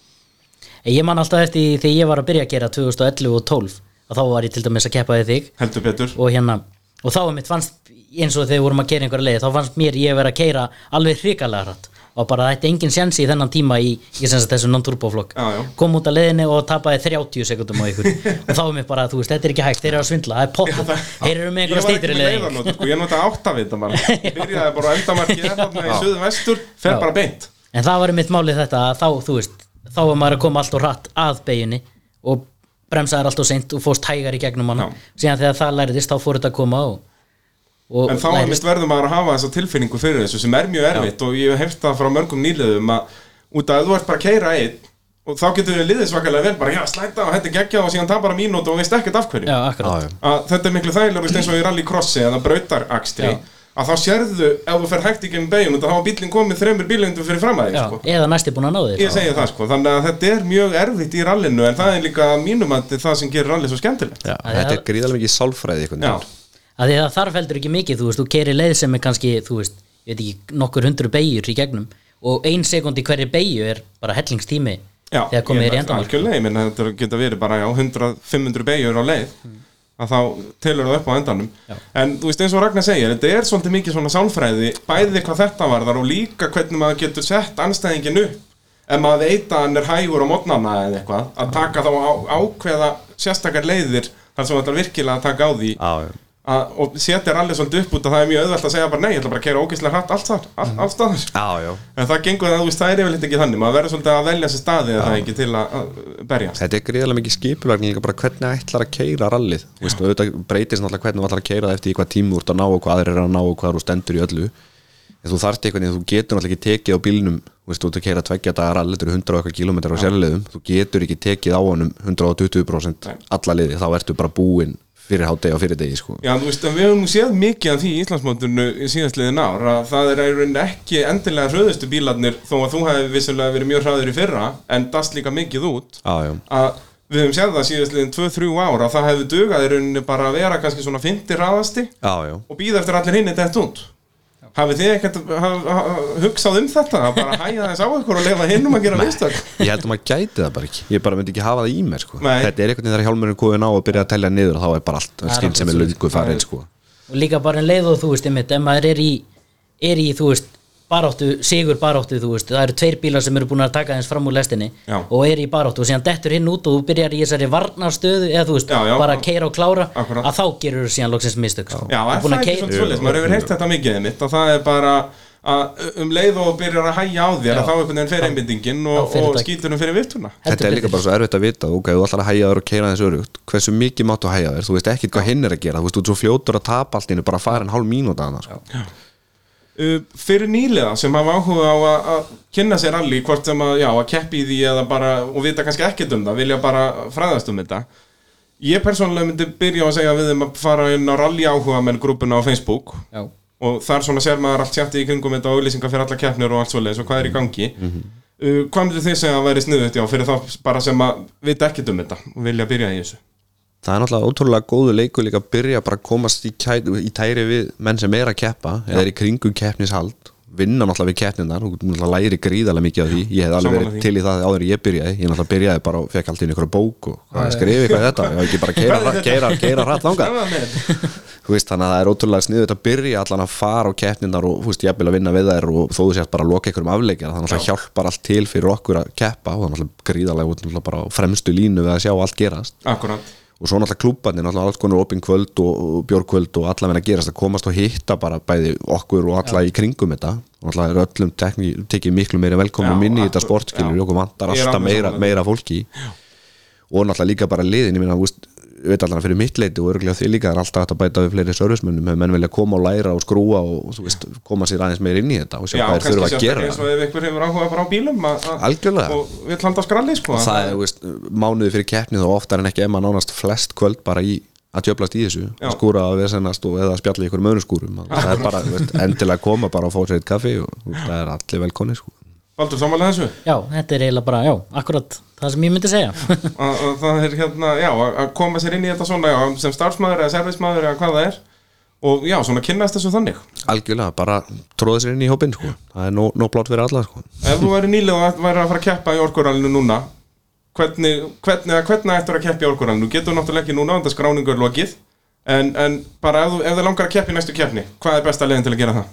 Speaker 3: En Ég man alltaf eftir því þegar ég var að byrja að gera 2011 og 12 og þá var ég til dæmis að keppa við þig
Speaker 1: heldur betur
Speaker 3: og hérna og þá mitt fannst eins og þegar við vorum að keira einhverja leið þá fannst mér ég vera að keira alveg hrikalega hratt og bara þetta er engin sjensi í þennan tíma í, í sem sagt þessu non-turboflokk
Speaker 1: Já, já.
Speaker 3: kom út að leiðinni og tapaði 30 sekundum á ykkur og þá er mér bara, þú veist, þetta er ekki hægt, þeir eru að svindla það er pott, þeir eru með
Speaker 1: Ég
Speaker 3: einhverja
Speaker 1: var ekki
Speaker 3: stýtri
Speaker 1: með
Speaker 3: leiðing
Speaker 1: leiðanóti, sko, ég nota átta við þetta bara Ég byrjaði bara á endamarkið þarna í söðu vestur, fer
Speaker 3: Já.
Speaker 1: bara beint
Speaker 3: En það var mitt málið þetta að þá, þú veist, þá var maður að koma allt og hratt að beiginni og bremsaðar allt og seint og fórst hægar í gegnum hana.
Speaker 1: Já.
Speaker 3: Síðan þegar það læriðist þá fór þetta að koma og, og
Speaker 1: En þá er mist verður maður að hafa þessa tilfinningu fyrir þessu sem er mjög erfitt og ég hef hefst það frá mörgum nýliðum að út að ef þú ert bara að keira einn og þá getur við liðið svakalega vel bara já slæta og hætti geggja og síðan tapar að mínútu og veist ekkert af hverju
Speaker 3: Já, akkurat.
Speaker 2: Já, já.
Speaker 1: að þetta er miklu þægilega þú veist, eins og í rallycrossi eða brautarakstri
Speaker 3: Já.
Speaker 1: að þá sérðu ef þú fer hægt í gegn beigum þá hafa bílinn komið þreymur bílengdum fyrir fram að
Speaker 3: Já,
Speaker 1: þig sko.
Speaker 3: eða næsti búin að ná þér.
Speaker 1: Ég segi það sko, þannig að þetta er mjög erfitt í rallinu en það er líka að mínum að það sem gerir rally svo skemmtilegt
Speaker 2: Já,
Speaker 3: Það er-
Speaker 2: þetta er gríðarlega mikið sálfræði einhvern
Speaker 1: Já,
Speaker 2: veginn.
Speaker 3: Af því að það þarf heldur ekki mikið, þú veist, þú keri leið sem er kannski, þú veist, ég veit ekki, nokkur hundru beigjur í gegnum og ein sekund í hverju beigju er bara hellingstími
Speaker 1: já
Speaker 3: þegar komið
Speaker 1: ég-
Speaker 3: er í endamark.
Speaker 1: Algjörlega, ég minna þetta geta verið bara já, 100-500 beigjur á leið
Speaker 3: Mm.
Speaker 1: að þá telur það upp á endanum en þú veist eins og Ragnar segir, þetta er svolítið mikið svona sálfræði, bæði hvað þetta varðar og líka hvernig maður getur sett anstæðingin upp ef maður veit að hann er hægur á mótnana eða eitthvað að taka þá á, ákveða sérstakar leiðir þar sem þetta er virkilega að taka á því
Speaker 2: Já, já.
Speaker 1: að, og setja rallið svolítið upp út að það er mjög auðvelt að segja bara nei, ég ætla bara að keira ógeðslega hratt allt þar,
Speaker 3: Mm.
Speaker 1: all, alls staðar
Speaker 2: Já, já.
Speaker 1: en það gengur það, þú veist, það er yfirleitt ekki þannig maður verður svolítið að velja sér staði eða það ekki til að, að berjast
Speaker 2: Þetta er gríðarlega mikið skipulagning líka bara hvernig ætlar að keira rallið Þú veist, og auðvitað breytist náttúrulega hvernig þú ætlar að keira það eftir í hvað tími þú ert að ná og hvað aðrir er að ná og hvað þú stendur í öllu en þú þarft einhvern veginn, þú getur náttúrulega ekki tekið á bílnum þú veist, þú ert að keira tveggja dagar rallið þetta eru 100 og eitthvað kilometrar á sérleiðum þú getur ekki tekið á honum 120% alla liði, þá ertu bara búinn fyrir hádegi og fyrir degi sko.
Speaker 1: Já, þú veist, en við höfum nú séð mikið af því í Íslandsmótinu í síðastliðin ár að það er í rauninni ekki endilega hröðustu bílarnir þó að þú hefði vissulega verið mjög hraður í fyrra en dast líka mikið út
Speaker 2: Já, já.
Speaker 1: að við höfum séð það síðastliðin 2-3 ár að það hefði dugað í rauninni bara að vera kannski svona 50 hraðasti
Speaker 2: Já, já.
Speaker 1: og býða eftir að allir hinn þetta út hafið þið ekkert haf, haf, hugsað um þetta að bara hæja þess á ykkur og lefa hinnum að gera mistök
Speaker 2: Ég held að maður gæti það bara ekki Ég bara myndi ekki hafa það í mér sko.
Speaker 1: Nei.
Speaker 2: Þetta er einhvern veginn þegar hjálmurinn kóðin á og byrja að telja niður þá er bara allt
Speaker 3: er
Speaker 2: skinn sem er löngu farin sko.
Speaker 3: og líka bara en leið og þú veist einmitt, ef maður er í, er í þú veist, baráttu, sigur baráttu þú veist, það eru tveir bílar sem eru búin að taka eins fram úr lestinni
Speaker 1: Já.
Speaker 3: og er í baráttu og síðan dettur hinn út og þú byrjar í þessari varnarstöðu eða þú veist,
Speaker 1: Já, já.
Speaker 3: bara að keira og klára
Speaker 1: Akkurat.
Speaker 3: að þá gerur þú síðan loksins mistök sko.
Speaker 1: Já,
Speaker 3: Þú
Speaker 1: er
Speaker 3: búin
Speaker 1: það
Speaker 3: að
Speaker 1: ekki
Speaker 3: keyra-
Speaker 1: svona svolítið, maður hefur heyrt þetta mikið mitt og það er bara að um leið og byrjar að hæja á þér
Speaker 3: Já.
Speaker 1: að þá einhvern veginn fer einbindingin
Speaker 3: Þá
Speaker 1: og,
Speaker 3: fer
Speaker 1: og
Speaker 3: þetta-
Speaker 1: skýtur um fyrir vittuna
Speaker 2: Þetta er líka bara svo erfitt að vita ok, þú ætlar að hæja þér og keira þessu örugt hversu mikið máttu að hæja þér, þú veist ekkit hvað hinn er að gera þú veist, þú ert svo fljótur að tapa allt innu bara að fara en hálf mínúta annars sko.
Speaker 1: Uh, Fyrir nýlega sem hafa áhuga á að- að kynna sér allir hvort sem að, já, að keppi í því eða bara, og vita kannski ekkert um það, vilja bara fræðast um þetta Ég persónulega myndi byrja á að segja við þeim að fara inn á rally áhuga menn grúpuna á Facebook
Speaker 3: Já.
Speaker 1: og þar svona sér maður allt sjátti í kringum þetta og auðlýsingar fyrir alla keppnir og allt svoleiðis og hvað er í gangi
Speaker 2: Mhm.
Speaker 1: uh, Hvað myndir þið segja að væri sniðut já fyrir þá bara sem að vita ekkert um þetta og vilja byrja í þessu
Speaker 2: það er náttúrulega ótrúlega góðu leikur líka að byrja bara að komast í, kæ, í tæri við menn sem er að keppa eða er í kringum keppnishald vinna náttúrulega við keppninar og náttúrulega læri gríðarlega mikið af því ég hef alveg
Speaker 1: Sammála
Speaker 2: verið
Speaker 1: því.
Speaker 2: til í það áður en ég byrjaði ég náttúrulega byrjaði bara og fekk allt inn ykkur bók og hvað er skrifið hvað er þetta, ég hef ekki bara keira, keira, keira, keira hratt langað
Speaker 1: Hvað með þetta?
Speaker 2: Þú veist, þannig að það er ótrúlega sniðut að byrja allan að fara á keppnindar og þú veist, jafnvel að vinna við þær og þó þú sért bara að loka einhverjum afleikina þannig að það hjálpar allt til fyrir okkur að keppa og þannig að gríðarlega út náttúrulega bara á fremstu línu við að sjá allt gerast
Speaker 1: Akkurát
Speaker 2: og svo náttúrulega klúbarnir, náttúrulega alls konar opin kvöld og, og björkvöld og alla meina gerast að komast og hitta bara bæði okkur og alla í kringum þetta og náttúrulega er öllum tekni, tekið miklu meira
Speaker 1: Já,
Speaker 2: velkomum inn í
Speaker 1: akkur-
Speaker 2: þetta sportskilur
Speaker 1: já.
Speaker 2: okkur vantar
Speaker 1: Ég er alveg
Speaker 2: alltaf meira,
Speaker 1: sammála því.
Speaker 2: meira fólki og náttúrulega líka bara liðin ég meina, þú veist, ég veit allan fyrir mitt leiti og örgulega því líka það er alltaf hægt að bæta við fleiri servicemönnum ef menn vilja koma og læra og skrúa og þú veist, koma sér aðeins meira inn í þetta og sjá
Speaker 1: Já,
Speaker 2: hvað þeir
Speaker 1: kannski
Speaker 2: þurfa að
Speaker 1: sérstaklega
Speaker 2: gera
Speaker 1: eins og ef ykkur hefur áhuga bara á bílum að- að-
Speaker 2: Algjörlega.
Speaker 1: Og við landa á skralli sko
Speaker 2: og það er, þú veist, mánuði fyrir keppni þá oftar en ekki emma nánast flest kvöld bara í að djöflast í þessu,
Speaker 1: Já.
Speaker 2: skúra að vesennast og eða spjalla í ykkur mönu skúrum það er bara, þú veist, endilega koma bara og fá sér eitt kaffi og þú veist, það er allir velkonni sko.
Speaker 1: Baldur samanlega þessu
Speaker 3: Já, þetta er eiginlega bara, já, akkurat það sem ég myndi segja
Speaker 1: að, að það er hérna, já, að að koma sér inn í þetta svona já, sem starfsmæður eða servismæður eða hvað það er og já, svona kynnast þessu þannig
Speaker 2: algjörlega, bara tróða sér inn í hópinn sko. það er nóg, nóg plátt fyrir alla sko.
Speaker 1: ef þú væri nýlega og væri að fara að keppa í orkuralinu núna hvernig, hvernig, eða hvernig ættur að keppa í orkuralinu þú getur náttúrulega ekki núna, þetta skráningu er lokið en, en bara ef, þú- ef það langar að keppa í næstu keppni hvað er besta leiðin til að gera það?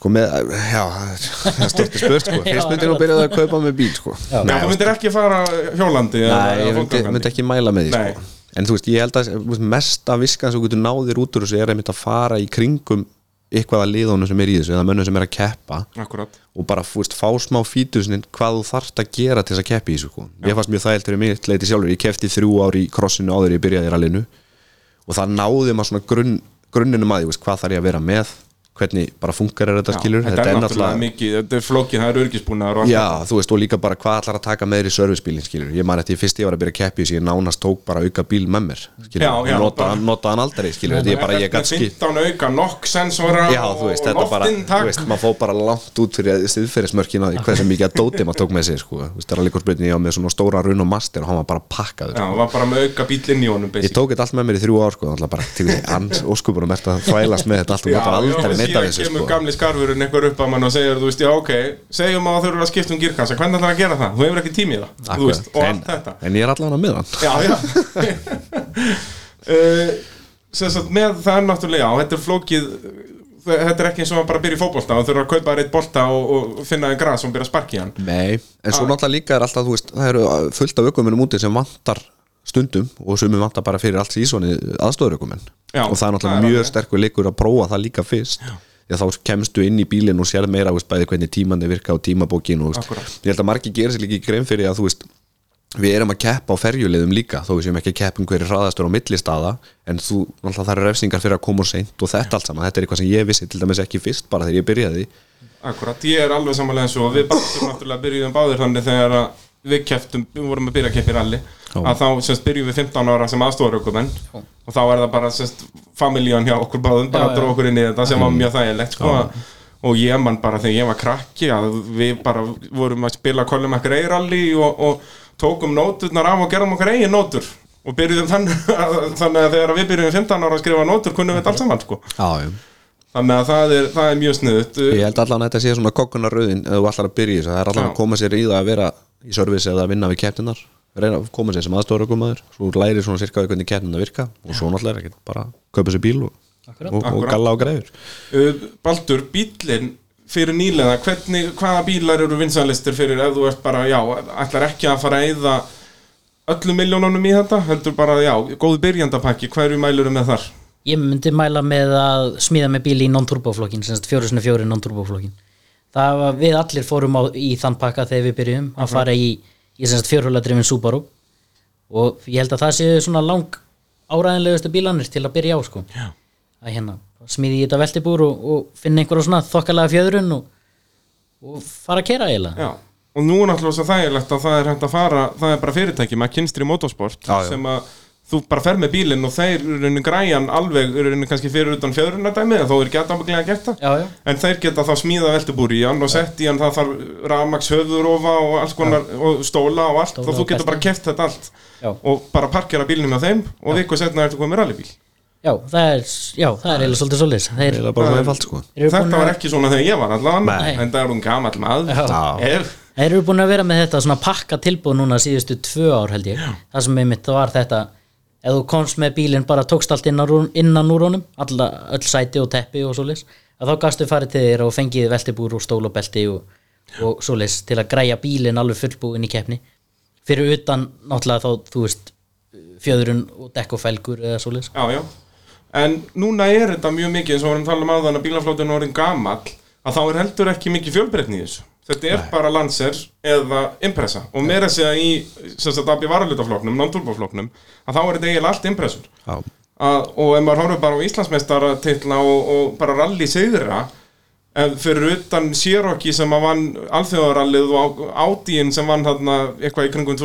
Speaker 2: sko með, já, það er- það er stort spurt sko.
Speaker 3: Já,
Speaker 2: fyrst myndi ég nú byrjaði að kaupa með bíl sko.
Speaker 3: Já.
Speaker 1: Nei, þú myndir ekki fara hjólandi eða-
Speaker 2: Nei,
Speaker 1: eða
Speaker 2: ég myndi,
Speaker 1: fótgangandi.
Speaker 2: myndi ekki mæla með því
Speaker 1: Nei.
Speaker 2: sko. En þú veist, ég held að þú veist, mesta viskan sem þú getur náðir út úr þessu er einmitt að fara í kringum eitthvað að liðunum sem er í þessu eða mönnum sem er að keppa
Speaker 1: Akkúrat.
Speaker 2: og bara þú veist, fá smá fítusnin hvað þú þarft að gera til þess að keppa í þessu sko. Ég fannst mjög þægilt fyrir mig leiti sjálfur, ég keppti þrjú ár í krossinu áður en ég byrjaði í rallinu og það náði maður svona grunn, grunninum að því, þú veist, hvað þarf ég að vera með hvernig bara funkar er þetta skilur
Speaker 1: þetta er náttúrulega mikið, þetta er flókið, það er örgisbúnaðar og allt
Speaker 2: Já, þú veist, og líka bara hvað ætlar að taka með þér í servicebílinn, skilur, ég man eftir fyrst ég var að byrja að keppi þess að ég nánast tók bara auka bíl með mér, skilur,
Speaker 1: Já, já,
Speaker 2: og nota,
Speaker 1: bara-
Speaker 2: nota hann aldrei, skilur, þetta er bara ég gætt skil
Speaker 1: 15 auka, nokk sensora
Speaker 2: Já, þú veist, þetta bara, þú veist, maður fór bara langt út fyrir stiðferðismörkina því hversu mikið að dóti maður tók með sér, sko, þú veist, það er líka spurning ég á með svona stóra runn og master og hann var bara pakkaður
Speaker 1: Já, var bara með auka bíl inn í honum
Speaker 2: Ég tók þetta allt með mér í þrjú ár, sko, þannig bara til því ans óskupunum ert að þvælast með þetta allt og maður bara aldrei neitt af þessu,
Speaker 1: Síðan kemur
Speaker 2: sko
Speaker 1: gamli skarfurinn einhver upp að mann og segir, þú veist, já, ok segjum að þau eru að skipta um girkassa, hvernig ætlar að gera það? Þú hefur ekki tími í það, þú veist, og allt
Speaker 2: Akkurat,
Speaker 1: þetta
Speaker 2: en, en ég er allan að með hann
Speaker 1: Já, já uh, Sem sagt, með það er náttúrulega, já, þetta er flókið eh, Þetta er ekki eins og maður bara byrja í fótbolta og þau eru að kaupa þér eitt bolta og, og finna þeim gras og byrja að sparki hann
Speaker 2: Nei, en svo náttúrulega líka er alltaf, þú veist, það eru uh, fullt af ökumunum úti sem vantar stundum og sumum vantar bara fyrir allt sísoni aðstofurökumenn
Speaker 1: Já,
Speaker 2: og það er
Speaker 1: það er
Speaker 2: náttúrulega mjög
Speaker 1: alveg.
Speaker 2: sterkur leikur að prófa það líka fyrst því að þá kemstu inn í bílinn og sér meira þú veist, bæði hvernig tímanni virka og tímabókin og þú
Speaker 1: Akkúrat.
Speaker 2: veist, ég held að margir gera sér líka í grein fyrir að þú veist við erum að keppa á ferjuleiðum líka þó við séum ekki að keppa um hverju hraðastur á milli staða en þú, náttúrulega það eru refsingar fyrir að koma og seint og þetta allt saman, þetta er eitthvað sem ég vissi til dæmis ekki fyrst bara þegar ég byrjaði
Speaker 1: Akkurat, ég er alveg samanlega eins og við báðum náttúrulega byrjuðum báðir þannig þegar að við keftum, við vorum að byrja að keppi ralli
Speaker 2: Já.
Speaker 1: að þá semst byrjum við 15 ára sem aðstofaraukumenn og þá er það bara semst familjan hjá okkur báðum bara að
Speaker 3: Já, Mm. já.
Speaker 1: dróða okkur inn í þetta sem var mjög þægilegt sko og ég man bara þegar ég var krakki að við bara vorum að spila kollum ekkert eigin ralli og, og tókum nóturnar af og gerðum okkar eigin nótur og byrjuðum þann, þannig að þegar við byrjuðum 15 ára að skrifa nótur kunnum við þetta allt saman sko
Speaker 2: Já, já
Speaker 1: þannig að það er, það er mjög sniðut
Speaker 2: Ég held allan að þetta sé svona kokkunarröðin eða þú allar að byrja í þessu, það er allan
Speaker 1: Já.
Speaker 2: að koma sér í það að vera í servis eða að vinna við keppninar reyna að koma sér sem aðstofarökumæður svo læri svona sirka hvernig keppninar virka og svo náttúrulega er ekkert bara kaupa sér bíl og,
Speaker 3: Akkurat.
Speaker 2: og, og
Speaker 1: Akkurat.
Speaker 2: galla og greiður
Speaker 1: Uh, Baldur, bílinn fyrir nýlega, hvernig, hvaða bílar eru vinsalistir fyrir ef þú ert bara, já, ætlar ekki að fara að eyða öllum miljónunum í þetta, heldur bara, já, góð byrjandapakki, hverju mæluru með þar?
Speaker 3: Ég myndi mæla með að smíða með bíl í non-turboflokkin, sem sagt 404 non-turboflokkin. Það var, við allir fórum á, í þann pakka þegar við byrjum að fara í, í sem sagt fjórhjóladrifin Subaru og ég held að það séu svona lang áræðinlegustu bílanir til að byrja á sko.
Speaker 1: Já.
Speaker 3: Að hérna, smíði í þetta veltibúr og, og finna einhverja svona þokkalega fjöðrun og, og fara að kera eiginlega.
Speaker 1: Já, og nú er náttúrulega svo þægilegt að það er hægt að fara, það er bara fyrirtæki með kynstri motorsport
Speaker 2: Já, já.
Speaker 1: sem að þú bara fer með bílinn og þeir eru raunin græjan alveg, eru raunin kannski fyrir utan fjöðrunardæmi, þá er ekki aðdámuglega gert það.
Speaker 3: Já, já.
Speaker 1: En þeir geta þá smíða veltubúri í hann og sett í hann það þarf rafmaks höfuðrófa og alls konar og stóla og allt
Speaker 3: Stóla
Speaker 1: og þú
Speaker 3: og
Speaker 1: getur bara
Speaker 3: belti.
Speaker 1: keft þetta allt
Speaker 3: Já.
Speaker 1: og bara parkera bílnum á þeim og viku setna ertu komið með rallybíl
Speaker 3: Já, það er, já, það er eiginlega svolítið svolítið. Þeir
Speaker 2: eða bara svona einfalt sko
Speaker 3: eru
Speaker 1: Þetta
Speaker 3: búin að-
Speaker 1: var ekki svona þegar ég var allavega
Speaker 2: Nei.
Speaker 1: en það er hún gamall maður
Speaker 3: Já.
Speaker 1: Ef,
Speaker 3: Þeir eru búin að vera með þetta svona pakka tilbúð núna síðustu tvö ár held ég það sem einmitt var þetta ef þú komst með bílinn bara tókst allt innan, úr- innan úr honum alla, öll sæti og teppi og svoleiðis að þá gastu farið til þeir og fengið veltibúr og stólabelti og, og svoleiðis til að græja bílinn alveg fullbúinn í keppni fyrir utan náttúrulega þá þú veist fjöðrun og dekk og felgur eða svoleiðis
Speaker 1: já, já En núna er þetta mjög mikið eins og vorum að tala um áðan að bílaflótin orðin gamall að þá er heldur ekki mikið fjölbreytni í þessu Þetta er bara Lancer eða Impressa og meira að segja í sem sagt að varalutafloknum, non-turbofloknum að þá er þetta eiginlega allt Impressur
Speaker 2: Já,
Speaker 1: að, og ef maður horfir bara á Íslandsmeistara og, og bara rally sigra en fyrir utan Sérokki sem að vann alþjóðarallið og Átíin sem vann þarna eitthvað í kringum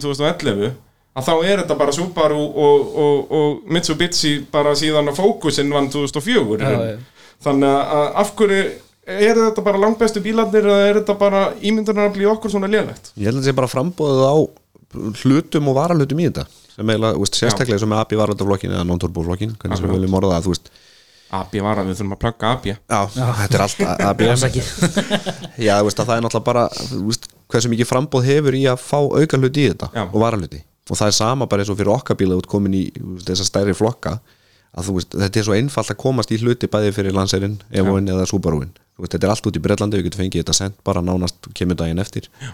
Speaker 1: 2010-2011 að þá er þetta bara Subaru og, og, og Mitsubishi bara síðan að Focusinn vann 2004
Speaker 3: Já, já.
Speaker 1: þannig að af hverju eru þetta bara langbestu bílarnir eða er þetta bara ímyndunarafli í okkur svona lélegt
Speaker 2: Ég held að það sé bara frambóðið á hlutum og varalutum í þetta sem eiginlega, þú veist, sérstaklega sem er AB varalutaflokkin eða non-turboflokkin, hvernig sem við viljum orða það, þú veist
Speaker 1: Abja var að við þurfum að plugga Abja
Speaker 2: Já, þetta er alltaf AB
Speaker 3: Afsakið.
Speaker 2: Já, þú veist að það er náttúrulega bara þú veist, hversu mikið frambóð hefur í að fá auka hluti í þetta
Speaker 1: Já.
Speaker 2: og varaluti og það er sama bara eins og fyrir okkar bíla út komin í þú veist, þessa stærri flokka að þú veist, þetta er svo einfalt að komast í hluti bæði fyrir Lancerinn, Evoinn eða Subaruinn Þú veist, þetta er allt út í Bretlandi, við getum fengið þetta sent bara nánast kemur daginn eftir Já.